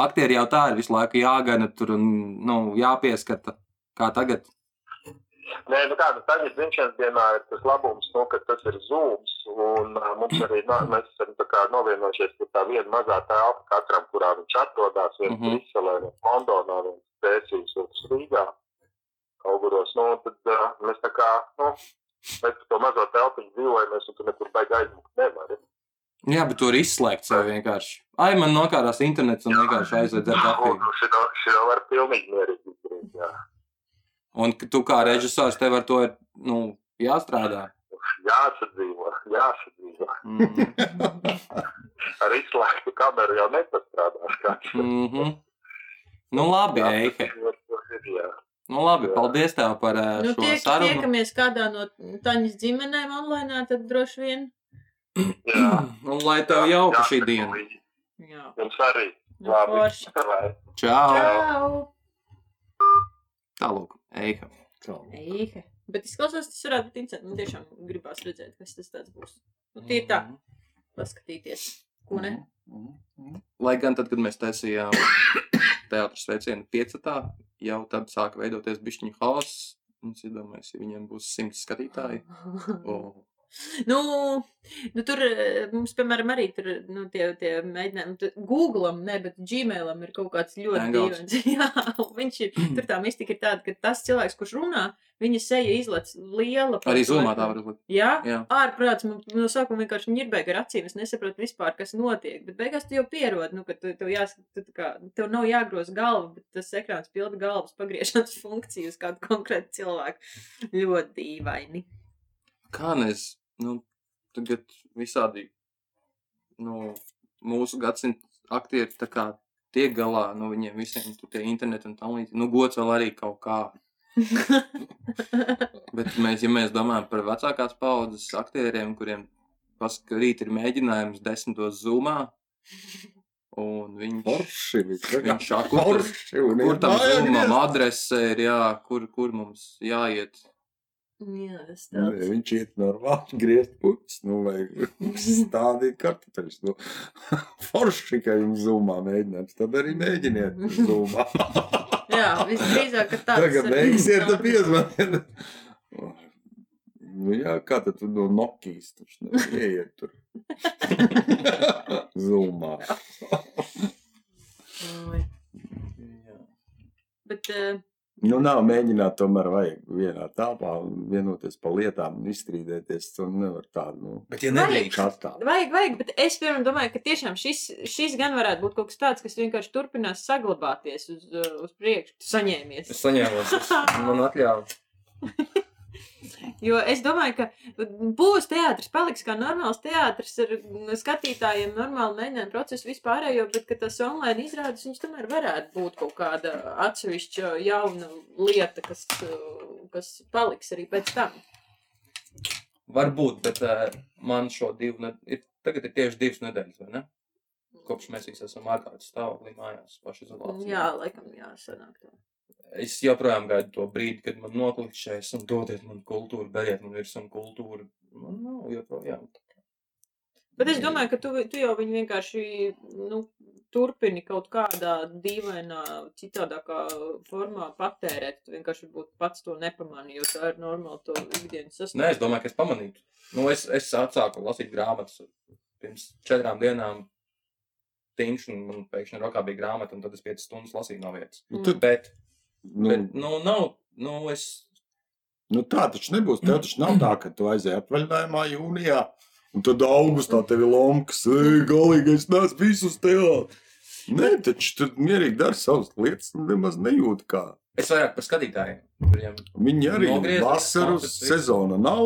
[SPEAKER 3] aktieri jau tā ir visu laiku jāgana tur un nu, jāpieskata. Kā tagad?
[SPEAKER 5] Nē, nu kā, nu tagad dzimšanas dienā ir tas labums, nu, ka tas ir zūms, un uh, mums arī, no, mēs esam tā kā novienojušies, ka tā viena mazā telpa katram, kurā viņš atrodās, viens
[SPEAKER 3] Mhm.
[SPEAKER 5] Briselē, viens Londonā, viens Pēcīs, viens Rīgā, auguros, nu, un tad uh, mēs tā kā, nu, mēs pa to mazo telpiņu dzīvojamies, un tu nekur baigi aizmukt nevari.
[SPEAKER 3] Jā, bet tur ir izslēgts jau vienkārši. Ai, man nokārās internets un vienkārši aizved ar
[SPEAKER 5] Un
[SPEAKER 3] kafiju.
[SPEAKER 5] nu, šito, šito var pilnīgi mierīgi izdarīt, jā.
[SPEAKER 3] Un ka tu kā režisors tev ar to ir nu, jāstrādā.
[SPEAKER 5] Jāsadzīvo, jāsadzīvo.
[SPEAKER 3] Mm
[SPEAKER 5] Ar izslēgtu kameru jau nepastrādās kāds.
[SPEAKER 3] -hmm. Nu labi, Eike.
[SPEAKER 5] Jā.
[SPEAKER 3] Nu labi, paldies tev par ā,
[SPEAKER 4] Nu,
[SPEAKER 3] šo
[SPEAKER 4] tiek,
[SPEAKER 3] sarunu.
[SPEAKER 4] tiekamies kādā no Taņas ģimenēm online, tad droši vien.
[SPEAKER 5] Jā.
[SPEAKER 3] Un Nu, lai tev jauka šī
[SPEAKER 5] Jā,
[SPEAKER 3] diena.
[SPEAKER 4] Jā,
[SPEAKER 5] Jums arī.
[SPEAKER 4] nu,
[SPEAKER 5] Labi.
[SPEAKER 4] forši.
[SPEAKER 5] Lai.
[SPEAKER 3] Čau!
[SPEAKER 4] Čau!
[SPEAKER 3] Tālāk, Eika.
[SPEAKER 4] Eihe. Bet izklausās, tas varētu būt interesanti. Man tiešām gribās redzēt, kas tas tāds būs. Nu, tie ir tā,
[SPEAKER 3] Mm.
[SPEAKER 4] paskatīties. Ko ne?
[SPEAKER 3] Lai gan tad, kad mēs taisījām teātros sveicienu 5. jau tad sāka veidoties bišķiņu haoss. Un Es iedomājos, ja viņiem būs simts skatītāji. Mm,
[SPEAKER 4] Mhm.
[SPEAKER 3] Oh.
[SPEAKER 4] nu, nu, tur eh, mums, piemēram, arī tur, nu, tie, tie mēģinājumi, tur Google'am, ne, bet Gmailam ir kaut kāds ļoti
[SPEAKER 3] Hangouts.
[SPEAKER 4] dīvains. Jā, un viņš ir, tur tā mistika ir tāda, ka tas cilvēks, kurš runā, viņa seja izlec liela.
[SPEAKER 3] Arī zumā tā var būt.
[SPEAKER 4] Jā,
[SPEAKER 3] Jā.
[SPEAKER 4] ārprāts, man no sākuma vienkārši ņirbēja ar acīm, es nesapratu vispār, kas notiek, bet beigās tu jau pierod, nu, ka tu, tev jāsaka, tu tā kā, tev nav jāgroz galva, bet tas ekrāns pilda galvas pagriešanas funkciju uz kādu konkrētu cilvēku. Ļoti dīvaini.
[SPEAKER 3] Kā nes, nu, tagad visādi, nu, mūsu gadsimta aktieri tā kā tiek galā, nu, viņiem visiem tur tie interneti un tam līdzīgi. Nu, gods vēl arī kaut kā. Bet mēs, ja mēs domājam par vecākās paudzes aktieriem, kuriem pasaka, rīt ir mēģinājums desmitos zumā, un viņš,
[SPEAKER 1] Porši viss.
[SPEAKER 3] viņš akur,
[SPEAKER 1] Porši un
[SPEAKER 3] kur tam
[SPEAKER 1] mājā
[SPEAKER 3] zumam
[SPEAKER 1] griezt.
[SPEAKER 3] adrese ir, jā, kur, kur mums jāiet.
[SPEAKER 4] Jā, tas
[SPEAKER 1] Nu,
[SPEAKER 4] tāds.
[SPEAKER 1] ja viņš iet normāli griezt puķis, nu, vai stādīt kartupeļus. Nu, forši, ka jums zumā mēģinājums, tad arī mēģiniet zumā.
[SPEAKER 4] Jā, visdrīzāk, ka tāds.
[SPEAKER 1] Tagad
[SPEAKER 4] arī
[SPEAKER 1] beigsiet,
[SPEAKER 4] tā.
[SPEAKER 1] tad piezvaniet. Nu, jā, kā tad tu no Nokijas taču nevar ieiet tur? Zumā.
[SPEAKER 4] Oi. Bet, eh,
[SPEAKER 1] Nu, nav mēģināt, tomēr vajag vienā telpā vienoties par lietām un izstrīdēties. Tur nevar tādu, nu,
[SPEAKER 3] Bet, ja
[SPEAKER 4] Vai-
[SPEAKER 3] nedrīkst,
[SPEAKER 1] kā tādu.
[SPEAKER 4] Vajag, vajag, bet es piemēram, domāju, ka tiešām šis, šis gan varētu būt kaut kas tāds, kas vienkārši turpinās saglabāties uz, uh, uz priekšu, saņēmies.
[SPEAKER 3] es saņēmu, man atļāva.
[SPEAKER 4] Jo es domāju, ka būs teātris, paliks kā normāls teātris ar skatītājiem, normāli mēģinājumu procesu vispārējo, bet ka tas online izrādes, viņš tomēr varētu būt kaut kāda atsevišķa jauna lieta, kas, uh, kas paliks arī pēc tam.
[SPEAKER 3] Varbūt, bet uh, man šo divu nedēļu, tagad ir tieši divas nedēļas, vai ne? Kopš mēs visi esam ārkārtas stāvoklī mājās, pašizolācijā.
[SPEAKER 4] Jā, laikam jāsanāk tā.
[SPEAKER 3] Es joprojām gaidu to brīdi, kad man noklikšķēs un dodiet man kultūru, dariet man virsmu kultūru. Man nav joprojām.
[SPEAKER 4] Bet es domāju, ka tu, tu jau viņu vienkārši nu, turpini kaut kādā dīvainā, citādākā formā patērēt. Tu vienkārši varbūt pats to nepamanīji, jo tā ir normāla to ikdienas
[SPEAKER 3] Nē,
[SPEAKER 4] sasniegšana.
[SPEAKER 3] es domāju, ka es pamanītu. Nu, es, es atsāku lasīt grāmatas pirms četrām dienām. Tīņš, un man pēkšņi rokā bija grāmata, un tad es piecas stundas lasīju no vietas.
[SPEAKER 4] Mm.
[SPEAKER 1] Tu,
[SPEAKER 3] Bet,
[SPEAKER 1] nu,
[SPEAKER 3] bet nu, nav, nu, es
[SPEAKER 1] nu, tā taču nebūs. Tev taču nav tā, ka tu aizēji atvaļinājumā jūnijā. Un tad augustā tev ir lomkas, ej, galīgi es neesmu visus teātrus. Nē, taču tu mierīgi dari savas lietas, un nemaz nejūti kā.
[SPEAKER 3] Es vairāk par skatītājiem.
[SPEAKER 1] Mm.
[SPEAKER 3] Viņam
[SPEAKER 1] Viņi arī
[SPEAKER 3] Nogriezās,
[SPEAKER 1] vasaras
[SPEAKER 3] tāpēc viss.
[SPEAKER 1] sezona nav.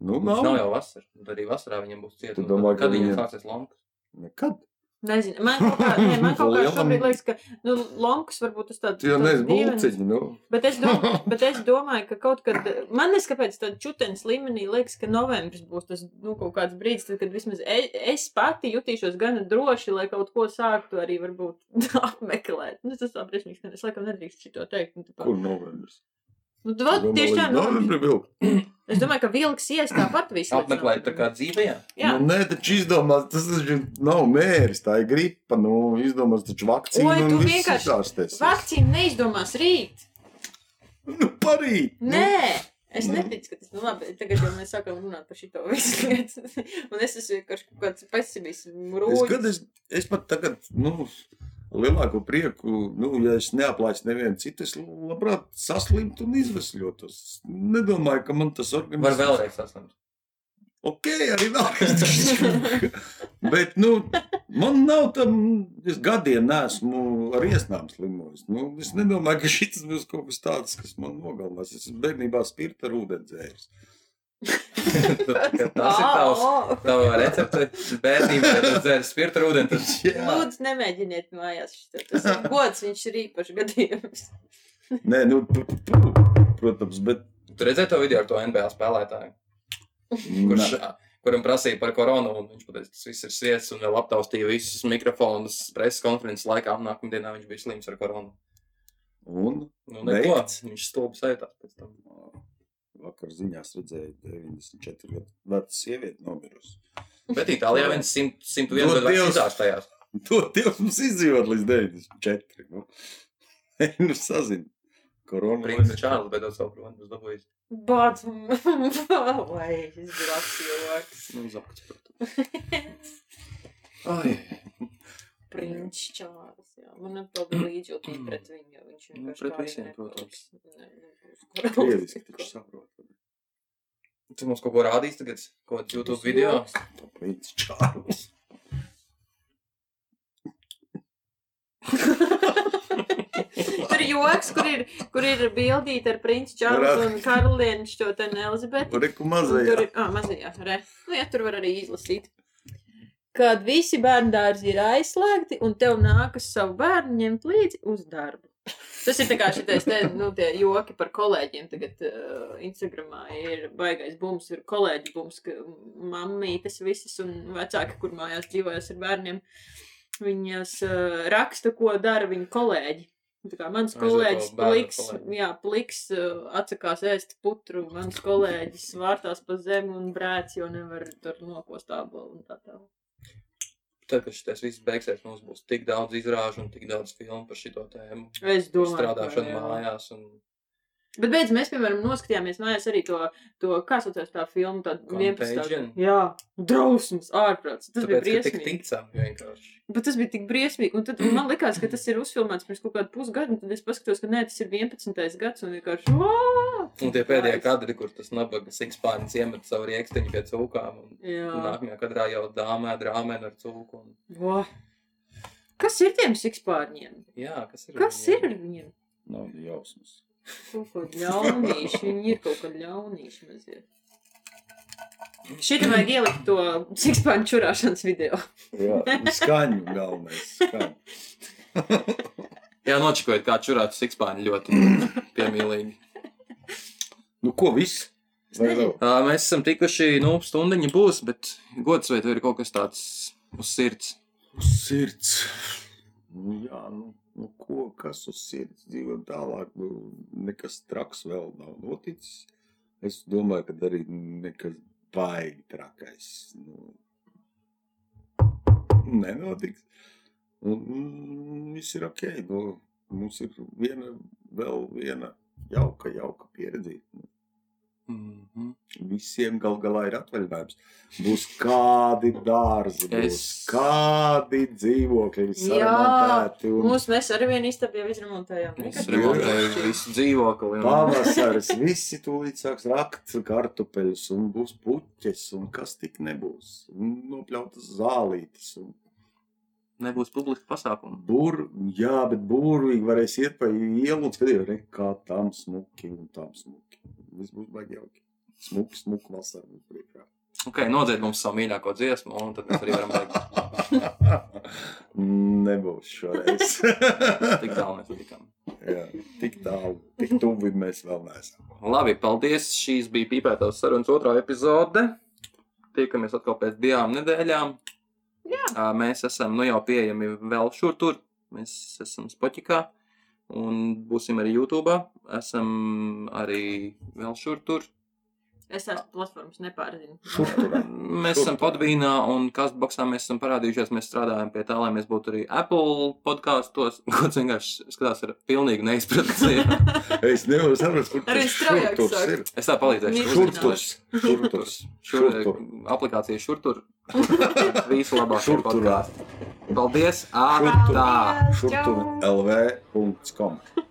[SPEAKER 1] Nu,
[SPEAKER 3] nav. nav
[SPEAKER 1] nav.
[SPEAKER 3] jau vasara. Tad arī vasarā viņam būs
[SPEAKER 1] Tu
[SPEAKER 3] cieta.
[SPEAKER 1] domā, ka
[SPEAKER 3] Kad viņam
[SPEAKER 1] viņiem-
[SPEAKER 3] sāksies lonkas?
[SPEAKER 1] Nekad.
[SPEAKER 4] Nezinu, man kaut kā, nē, man kaut kā
[SPEAKER 1] Lielam-
[SPEAKER 4] šobrīd liekas, ka nu, Lonks varbūt tas tāds
[SPEAKER 1] Tu jau
[SPEAKER 4] tāds
[SPEAKER 1] neesi
[SPEAKER 4] dīvains.
[SPEAKER 1] būciņi, nu.
[SPEAKER 4] Bet es, domāju, bet es domāju, ka kaut kad, man liekas, kāpēc tādā čutens līmenī liekas, ka novembris būs tas nu, kaut kāds brīdis, tad, kad vismaz e- es pati jutīšos gana droši, lai kaut ko sāktu arī varbūt apmeklēt. Nu, tas tā briesmīgs, ka es laikam nedrīkst šito teikt. Nu, tāpā,
[SPEAKER 1] Kur novembris?
[SPEAKER 4] nu, vat,
[SPEAKER 1] Domā,
[SPEAKER 4] tieši tā,
[SPEAKER 1] līdz
[SPEAKER 4] novembris.
[SPEAKER 1] novembrim vēl.
[SPEAKER 4] Es domāju, ka vilks ies tāpat visu. līdz
[SPEAKER 3] Apmeklēt, tā
[SPEAKER 4] novembrim.
[SPEAKER 3] kā dzīvē. jā.
[SPEAKER 4] Jā.
[SPEAKER 1] Nu, nē, taču izdomās, tas taču nav mēris, tā ir gripa. Nu, izdomās taču vakcīnu
[SPEAKER 4] Oi,
[SPEAKER 1] un
[SPEAKER 4] tu
[SPEAKER 1] viss
[SPEAKER 4] vienkārši-
[SPEAKER 1] izārstēs.
[SPEAKER 4] Vakcīna neizdomās rīt.
[SPEAKER 1] Nu, parīt!
[SPEAKER 4] Nē, es neticu, ka tas ir nu, labi. Tagad jau mēs sākam runāt par šo visu lietu. Un es esmu vienkārši kaut kāds pesimists.
[SPEAKER 1] Es,
[SPEAKER 4] Rūģis.
[SPEAKER 1] kad es, es pat tagad, nu, lielāko prieku, nu, ja es neaplaistu nevienu citu, es labprāt saslimtu un izvesļotos. Nedomāju, ka man tas
[SPEAKER 3] Var
[SPEAKER 1] organisms...
[SPEAKER 3] vēlreiz saslimt.
[SPEAKER 1] Ok, arī vēl. Bet, nu, man nav tam, es gadiem neesmu ar iesnām slimojis. Nu, es nedomāju, ka šis būs kaut kas tāds, kas man nogalinās. Es esmu bērnībā spirta ar ūdeni dzēris.
[SPEAKER 3] Tas ir tavs.
[SPEAKER 4] Ā, ā.
[SPEAKER 3] Tava recepte bērnībā ir dzērs spirta rudeni. Tas
[SPEAKER 1] Jā.
[SPEAKER 4] Lūdzu, nemēģiniet mājās. šito. Tas ir gods, viņš ir īpašs gadījums.
[SPEAKER 1] Nē, nu, pu- pu- pu, protams, bet.
[SPEAKER 3] Tu redzēji to video ar to NBA spēlētāju, kurš,
[SPEAKER 1] Kurš?
[SPEAKER 3] kuram prasīja par koronu, un viņš pateica, tas viss ir sviests, un vēl aptaustīja visus mikrofonus preses konferences laikā. Nākamdienā viņš bija slims ar koronu.
[SPEAKER 1] Un
[SPEAKER 3] Nu, neko.
[SPEAKER 1] Beigts.
[SPEAKER 3] Viņš stulbi sajūtās pēc tam.
[SPEAKER 1] vakar ziņās redzēju 94 gadu vecu sievieti nomirusi.
[SPEAKER 3] Bet Itālijā viens simt- 101
[SPEAKER 1] Dod
[SPEAKER 3] gadu vecs
[SPEAKER 1] Nu, Dievs.
[SPEAKER 3] izārstējās.
[SPEAKER 1] To Dievs mums izdzīvot līdz 94. Nu, nu sazin.
[SPEAKER 3] Princis
[SPEAKER 1] Koronavīruss.
[SPEAKER 3] Čārlis beidzot savu pronu būs dabūjis.
[SPEAKER 4] Bāc, vai šis grāks joks.
[SPEAKER 3] Nu, zapats, protams.
[SPEAKER 1] Ai.
[SPEAKER 4] Prinčs Čārlis. jā. Man ir tāda līdzjūtība pret viņu, jo viņš
[SPEAKER 3] Mm. Nu,
[SPEAKER 4] vienkārši
[SPEAKER 3] pret
[SPEAKER 4] kā arī
[SPEAKER 3] visiem,
[SPEAKER 4] nebūs- ne- nebūs
[SPEAKER 1] Krieviski taču
[SPEAKER 4] korona.
[SPEAKER 1] saprot.
[SPEAKER 3] Tu mums kaut ko rādīs tagad, ko YouTube video.
[SPEAKER 1] Prince Čārlis.
[SPEAKER 4] Tur ir joks, kur ir, kur ir bildīta ar prinču Čārlis un karalieni šo ten Elizabeti.
[SPEAKER 1] Reku
[SPEAKER 4] Un Tur
[SPEAKER 1] mazajā.
[SPEAKER 4] ir ah, mazajā, re. Nu, jā, tur var arī izlasīt. Kad visi bērnu dārzi ir aizslēgti, un tev nākas savu bērnu ņemt līdzi uz darbu. Tas ir tā kā šitais, te, nu, tie joki par kolēģiem. Tagad uh, Instagramā ir baigais bums, ir kolēģi bums, ka mammītes visas un vecāki, kur mājās dzīvojas ar bērniem, viņas uh, raksta, ko dara viņu kolēģi. Tā kā mans
[SPEAKER 3] Aiziet
[SPEAKER 4] kolēģis
[SPEAKER 3] vēl bērnu
[SPEAKER 4] pliks,
[SPEAKER 3] kolēģi.
[SPEAKER 4] jā, pliks uh, atsakās ēst putru, mans kolēģis vārtās pa zemi un brēc, jo nevar tur nokost ābolu un tā tālāk.
[SPEAKER 3] Tad, kad šis viss beigsies, mums būs tik daudz izrāžu un tik daudz filmu par šo tēmu.
[SPEAKER 4] Es domāju, ka
[SPEAKER 3] Strādāšana
[SPEAKER 4] jā.
[SPEAKER 3] mājās un
[SPEAKER 4] Bet beidz, mēs, piemēram, noskatījāmies mājās arī to, to kā saucās tā filma, tā 11.
[SPEAKER 3] Contagion.
[SPEAKER 4] Jā, drausmas, ārprāts. Tas bija
[SPEAKER 3] Tāpēc, ka tik
[SPEAKER 4] briesmīgi.
[SPEAKER 3] ticām vienkārši.
[SPEAKER 4] Bet tas bija tik briesmīgi. Un tad un man liekas, ka tas ir uzfilmēts pirms kaut kāda pusgada. un Tad es paskatos, ka nē, tas ir 11. gads un vienkārši. "Vā!"
[SPEAKER 3] Un tie pēdējie kadri, kur tas nabaga sikspārnis iemet savu rieksteņu pie cūkām. Un... un
[SPEAKER 4] Jā,
[SPEAKER 3] Nākamajā kadrā jau dāmē, drāmēn ar cūku. Un...
[SPEAKER 4] Vā. Kas ir tiem sikspārņiem?
[SPEAKER 3] Jā, kas ir?
[SPEAKER 4] Kas ir
[SPEAKER 3] viņiem?
[SPEAKER 4] ar viņiem?
[SPEAKER 1] Nav Nu, jausmas.
[SPEAKER 4] Kaut kā ļaunīši. Viņi ir kaut kā ļaunīši maziet. Šitā vajag ielikt to sikspārņu čurāšanas video.
[SPEAKER 1] Jā, un skaņu galvenais. Skaņu.
[SPEAKER 3] Jā, nočikojiet, kā čurāts sikspārni ļoti piemīlīgi.
[SPEAKER 1] Nu, ko viss? Vai vēl?
[SPEAKER 3] Ā, Mēs esam tikuši, nu, stundiņa būs, bet gods vai tev ir kaut kas tāds uz sirds?
[SPEAKER 1] Uz sirds. Nu, jā, nu, nu, ko, kas uz sirds dzīvo tālāk? Nu, nekas traks vēl nav noticis. Es domāju, ka arī nekas baigi trakais. Nu, nenotiks. Un mm, viss ir ok. Nu, mums ir viena, vēl viena jauka, jauka pieredze.
[SPEAKER 3] Mm -hmm.
[SPEAKER 1] Visiem gal galā ir atvaļinājums. Būs kādi dārzi, būs
[SPEAKER 3] Es-
[SPEAKER 1] kādi dzīvokļi
[SPEAKER 4] Jā,
[SPEAKER 1] sarunāti. Un...
[SPEAKER 4] Mūsu mēs ar vienu īstenībā jau izremontējām.
[SPEAKER 3] Mums
[SPEAKER 4] Nekad
[SPEAKER 1] Jā.
[SPEAKER 3] remontēja visu dzīvokli. Un...
[SPEAKER 1] Pavasaris, visi tūlīt sāks rakt kartupeļus, un būs puķes, un kas tik nebūs. Un Nopļautas zālītes, un
[SPEAKER 3] Nebūs publiska pasākuma.
[SPEAKER 1] Bur, jā, bet burvīgi varēs iet pa ielu un skatīties, re, kā tam smuki un tam smuki. Viss būs baigi jauki. Smuki, smuki vasara mums priekšā.
[SPEAKER 3] Ok, nodzied mums savu mīļāko dziesmu, un tad mēs arī varam beigt.
[SPEAKER 1] Nebūs šoreiz.
[SPEAKER 3] Tik tālu mēs tikām.
[SPEAKER 1] jā, tik tālu, tik tuvu mēs vēl neesam.
[SPEAKER 3] Labi, paldies. Šīs bija pīpētās sarunas otrā epizode. Tiekamies atkal pēc divām nedēļām. Jā. Mēs esam nu jau pieejami vēl šur tur. Mēs esam Spotify un būsim arī YouTube. Esam arī vēl šur tur.
[SPEAKER 4] Es tās platformas nepārzinu.
[SPEAKER 1] Šur tur.
[SPEAKER 3] Mēs esam Podvīnā un Kastboxā. Mēs esam parādījušies, mēs strādājam pie tā, lai mēs būtu arī Apple podkāstos. Gods vienkārši skatās ar pilnīgu neizpratni.
[SPEAKER 1] Es nevaru saprast, kur
[SPEAKER 4] Arī
[SPEAKER 1] tas
[SPEAKER 4] straujāk
[SPEAKER 1] šurturs
[SPEAKER 4] sāk.
[SPEAKER 1] ir.
[SPEAKER 3] Es tā palīdzēšu.
[SPEAKER 4] Mirkli.
[SPEAKER 1] Šur turs, šur turs,
[SPEAKER 3] Šur, eh,
[SPEAKER 1] šur tur.
[SPEAKER 3] aplikācija šur tur. Visu labāk.
[SPEAKER 1] Šur turā.
[SPEAKER 3] Paldies! Ā,
[SPEAKER 1] Šur tur.
[SPEAKER 3] tā!
[SPEAKER 1] Šur tur. lv.com